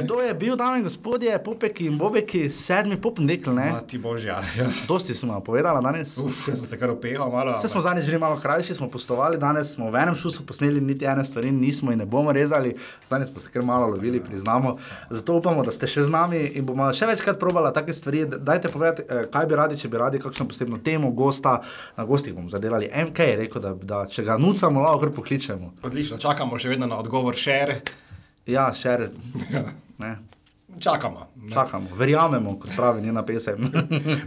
[SPEAKER 1] In to je bil, dame in gospodje, popeki in bobeki, sedmi popendekl, ne?
[SPEAKER 2] Ma, ti božja. Ja.
[SPEAKER 1] Dosti smo vam povedala danes.
[SPEAKER 2] Uf, jaz sem se kar opehal malo.
[SPEAKER 1] Vse smo zadnjič bili malo krajši, smo postovali, danes smo v enem šusu posneli, niti ene stvari nismo in ne bomo rezali, zadnjič smo se kar malo lovili, priznamo. Zato upamo, da ste še z nami in bomo še večkrat probala take stvari. D- Dajte povedati, eh, kaj bi radi, če bi radi kakšno posebno temo, gosta, na gostih bomo zadelali. MK je rekel, da, da če ga nucamo, lahko kar pokličemo.
[SPEAKER 2] Odlično, čakamo še vedno na odgovor šer.
[SPEAKER 1] Ja, še ne.
[SPEAKER 2] Čakamo. ne.
[SPEAKER 1] Čakamo, verjamemo, kot pravi njena pesem.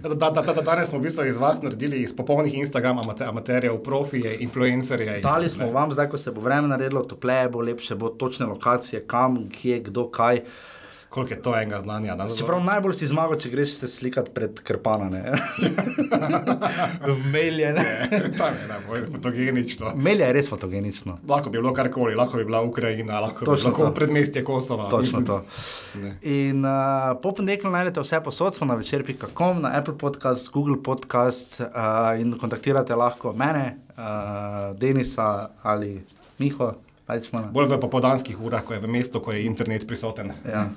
[SPEAKER 2] Da, da, da, da, danes smo v bistvu iz vas naredili iz popolnih Instagram amate, amaterjev, profije, influencerje. in-
[SPEAKER 1] Dali smo vam, zdaj ko se bo vreme naredilo, topleje bo, lepše bo, točne lokacije, kam, kje, kdo, kaj.
[SPEAKER 2] Koliko je to enega znanja? danes?
[SPEAKER 1] Čeprav najbolj si zmagal, če greš se slikati pred krpana. Melje,
[SPEAKER 2] Tam je najbolj fotogenično.
[SPEAKER 1] Melje je res fotogenično.
[SPEAKER 2] Lahko bi bilo karkoli, lahko bi bila Ukrajina, lahko bi
[SPEAKER 1] Točno
[SPEAKER 2] bilo
[SPEAKER 1] to.
[SPEAKER 2] lahko predmestje Kosova.
[SPEAKER 1] Točno
[SPEAKER 2] mislim.
[SPEAKER 1] to.
[SPEAKER 2] Ne.
[SPEAKER 1] In uh, po ponedeljku najdete vse posod, smo na večer.com, na Apple podcast, Google podcast uh, in kontaktirate lahko mene, uh, Denisa ali Miho, Pajčmana.
[SPEAKER 2] Bolj v popodanskih urah, ko je v mestu, ko je internet prisoten.
[SPEAKER 1] Ja.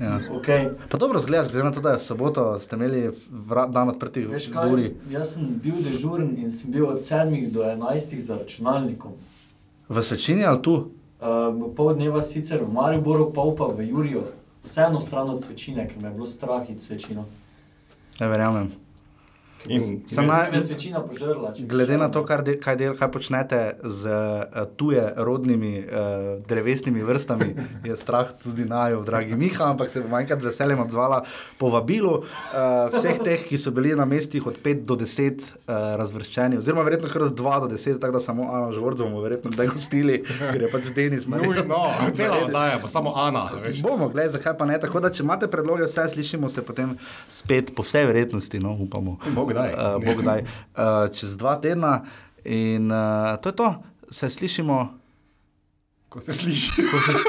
[SPEAKER 1] Ja.
[SPEAKER 3] Okej.
[SPEAKER 1] Pa dobro zgledaš, glede na to, da je v soboto ste imeli vra- dan odprtih
[SPEAKER 3] Veš
[SPEAKER 1] v
[SPEAKER 3] kaj,
[SPEAKER 1] uri.
[SPEAKER 3] jaz sem bil dežuren in sem bil od 7 do 11 za računalnikom.
[SPEAKER 1] V svečini ali tu?
[SPEAKER 3] Uh, pol dneva sicer v Mariboru, pol pa v Juriju. Vseeno stran od svečine, ker me je bilo strah in svečino.
[SPEAKER 1] Ne verjamem.
[SPEAKER 2] In,
[SPEAKER 1] Sem
[SPEAKER 2] in,
[SPEAKER 1] naj-
[SPEAKER 3] Me je svečina požrla. če bi
[SPEAKER 1] Glede
[SPEAKER 3] šel,
[SPEAKER 1] na
[SPEAKER 3] ne.
[SPEAKER 1] to, kar, de, kaj, del, kaj počnete z uh, tuje rodnimi uh, drevesnimi vrstami, je strah tudi najo, dragi Miha, ampak se bom enkrat veseljem odzvala povabilu uh, vseh teh, ki so bili na mestih od 5 do 10 uh, razvrščeni, oziroma verjetno kar od 2 do 10, tako da samo Ana Žvorc bomo verjetno kdaj gostili, ker je pač Denis na
[SPEAKER 2] nujno, cela oddaja, pa samo Ana. Veš.
[SPEAKER 1] Pač Bomo, gledaj, zakaj pa ne. Tako da, če imate predloge, vse slišimo, se potem spet, po vsej verjetnosti, no, upamo.
[SPEAKER 2] Bog daj.
[SPEAKER 1] Uh, Bog daj. Uh, čez dva tedna in uh, to je to, se slišimo.
[SPEAKER 2] Ko se sliši.
[SPEAKER 1] ko Se, s-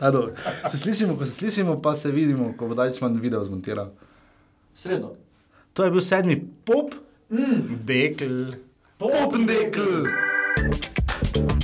[SPEAKER 1] Ta dobro. se slišimo, ko se slišimo, pa se vidimo, ko bo Dajčman video zmontiral.
[SPEAKER 3] V sredo.
[SPEAKER 1] To je bil sedmi pop,
[SPEAKER 2] Dekl.
[SPEAKER 1] popendekl.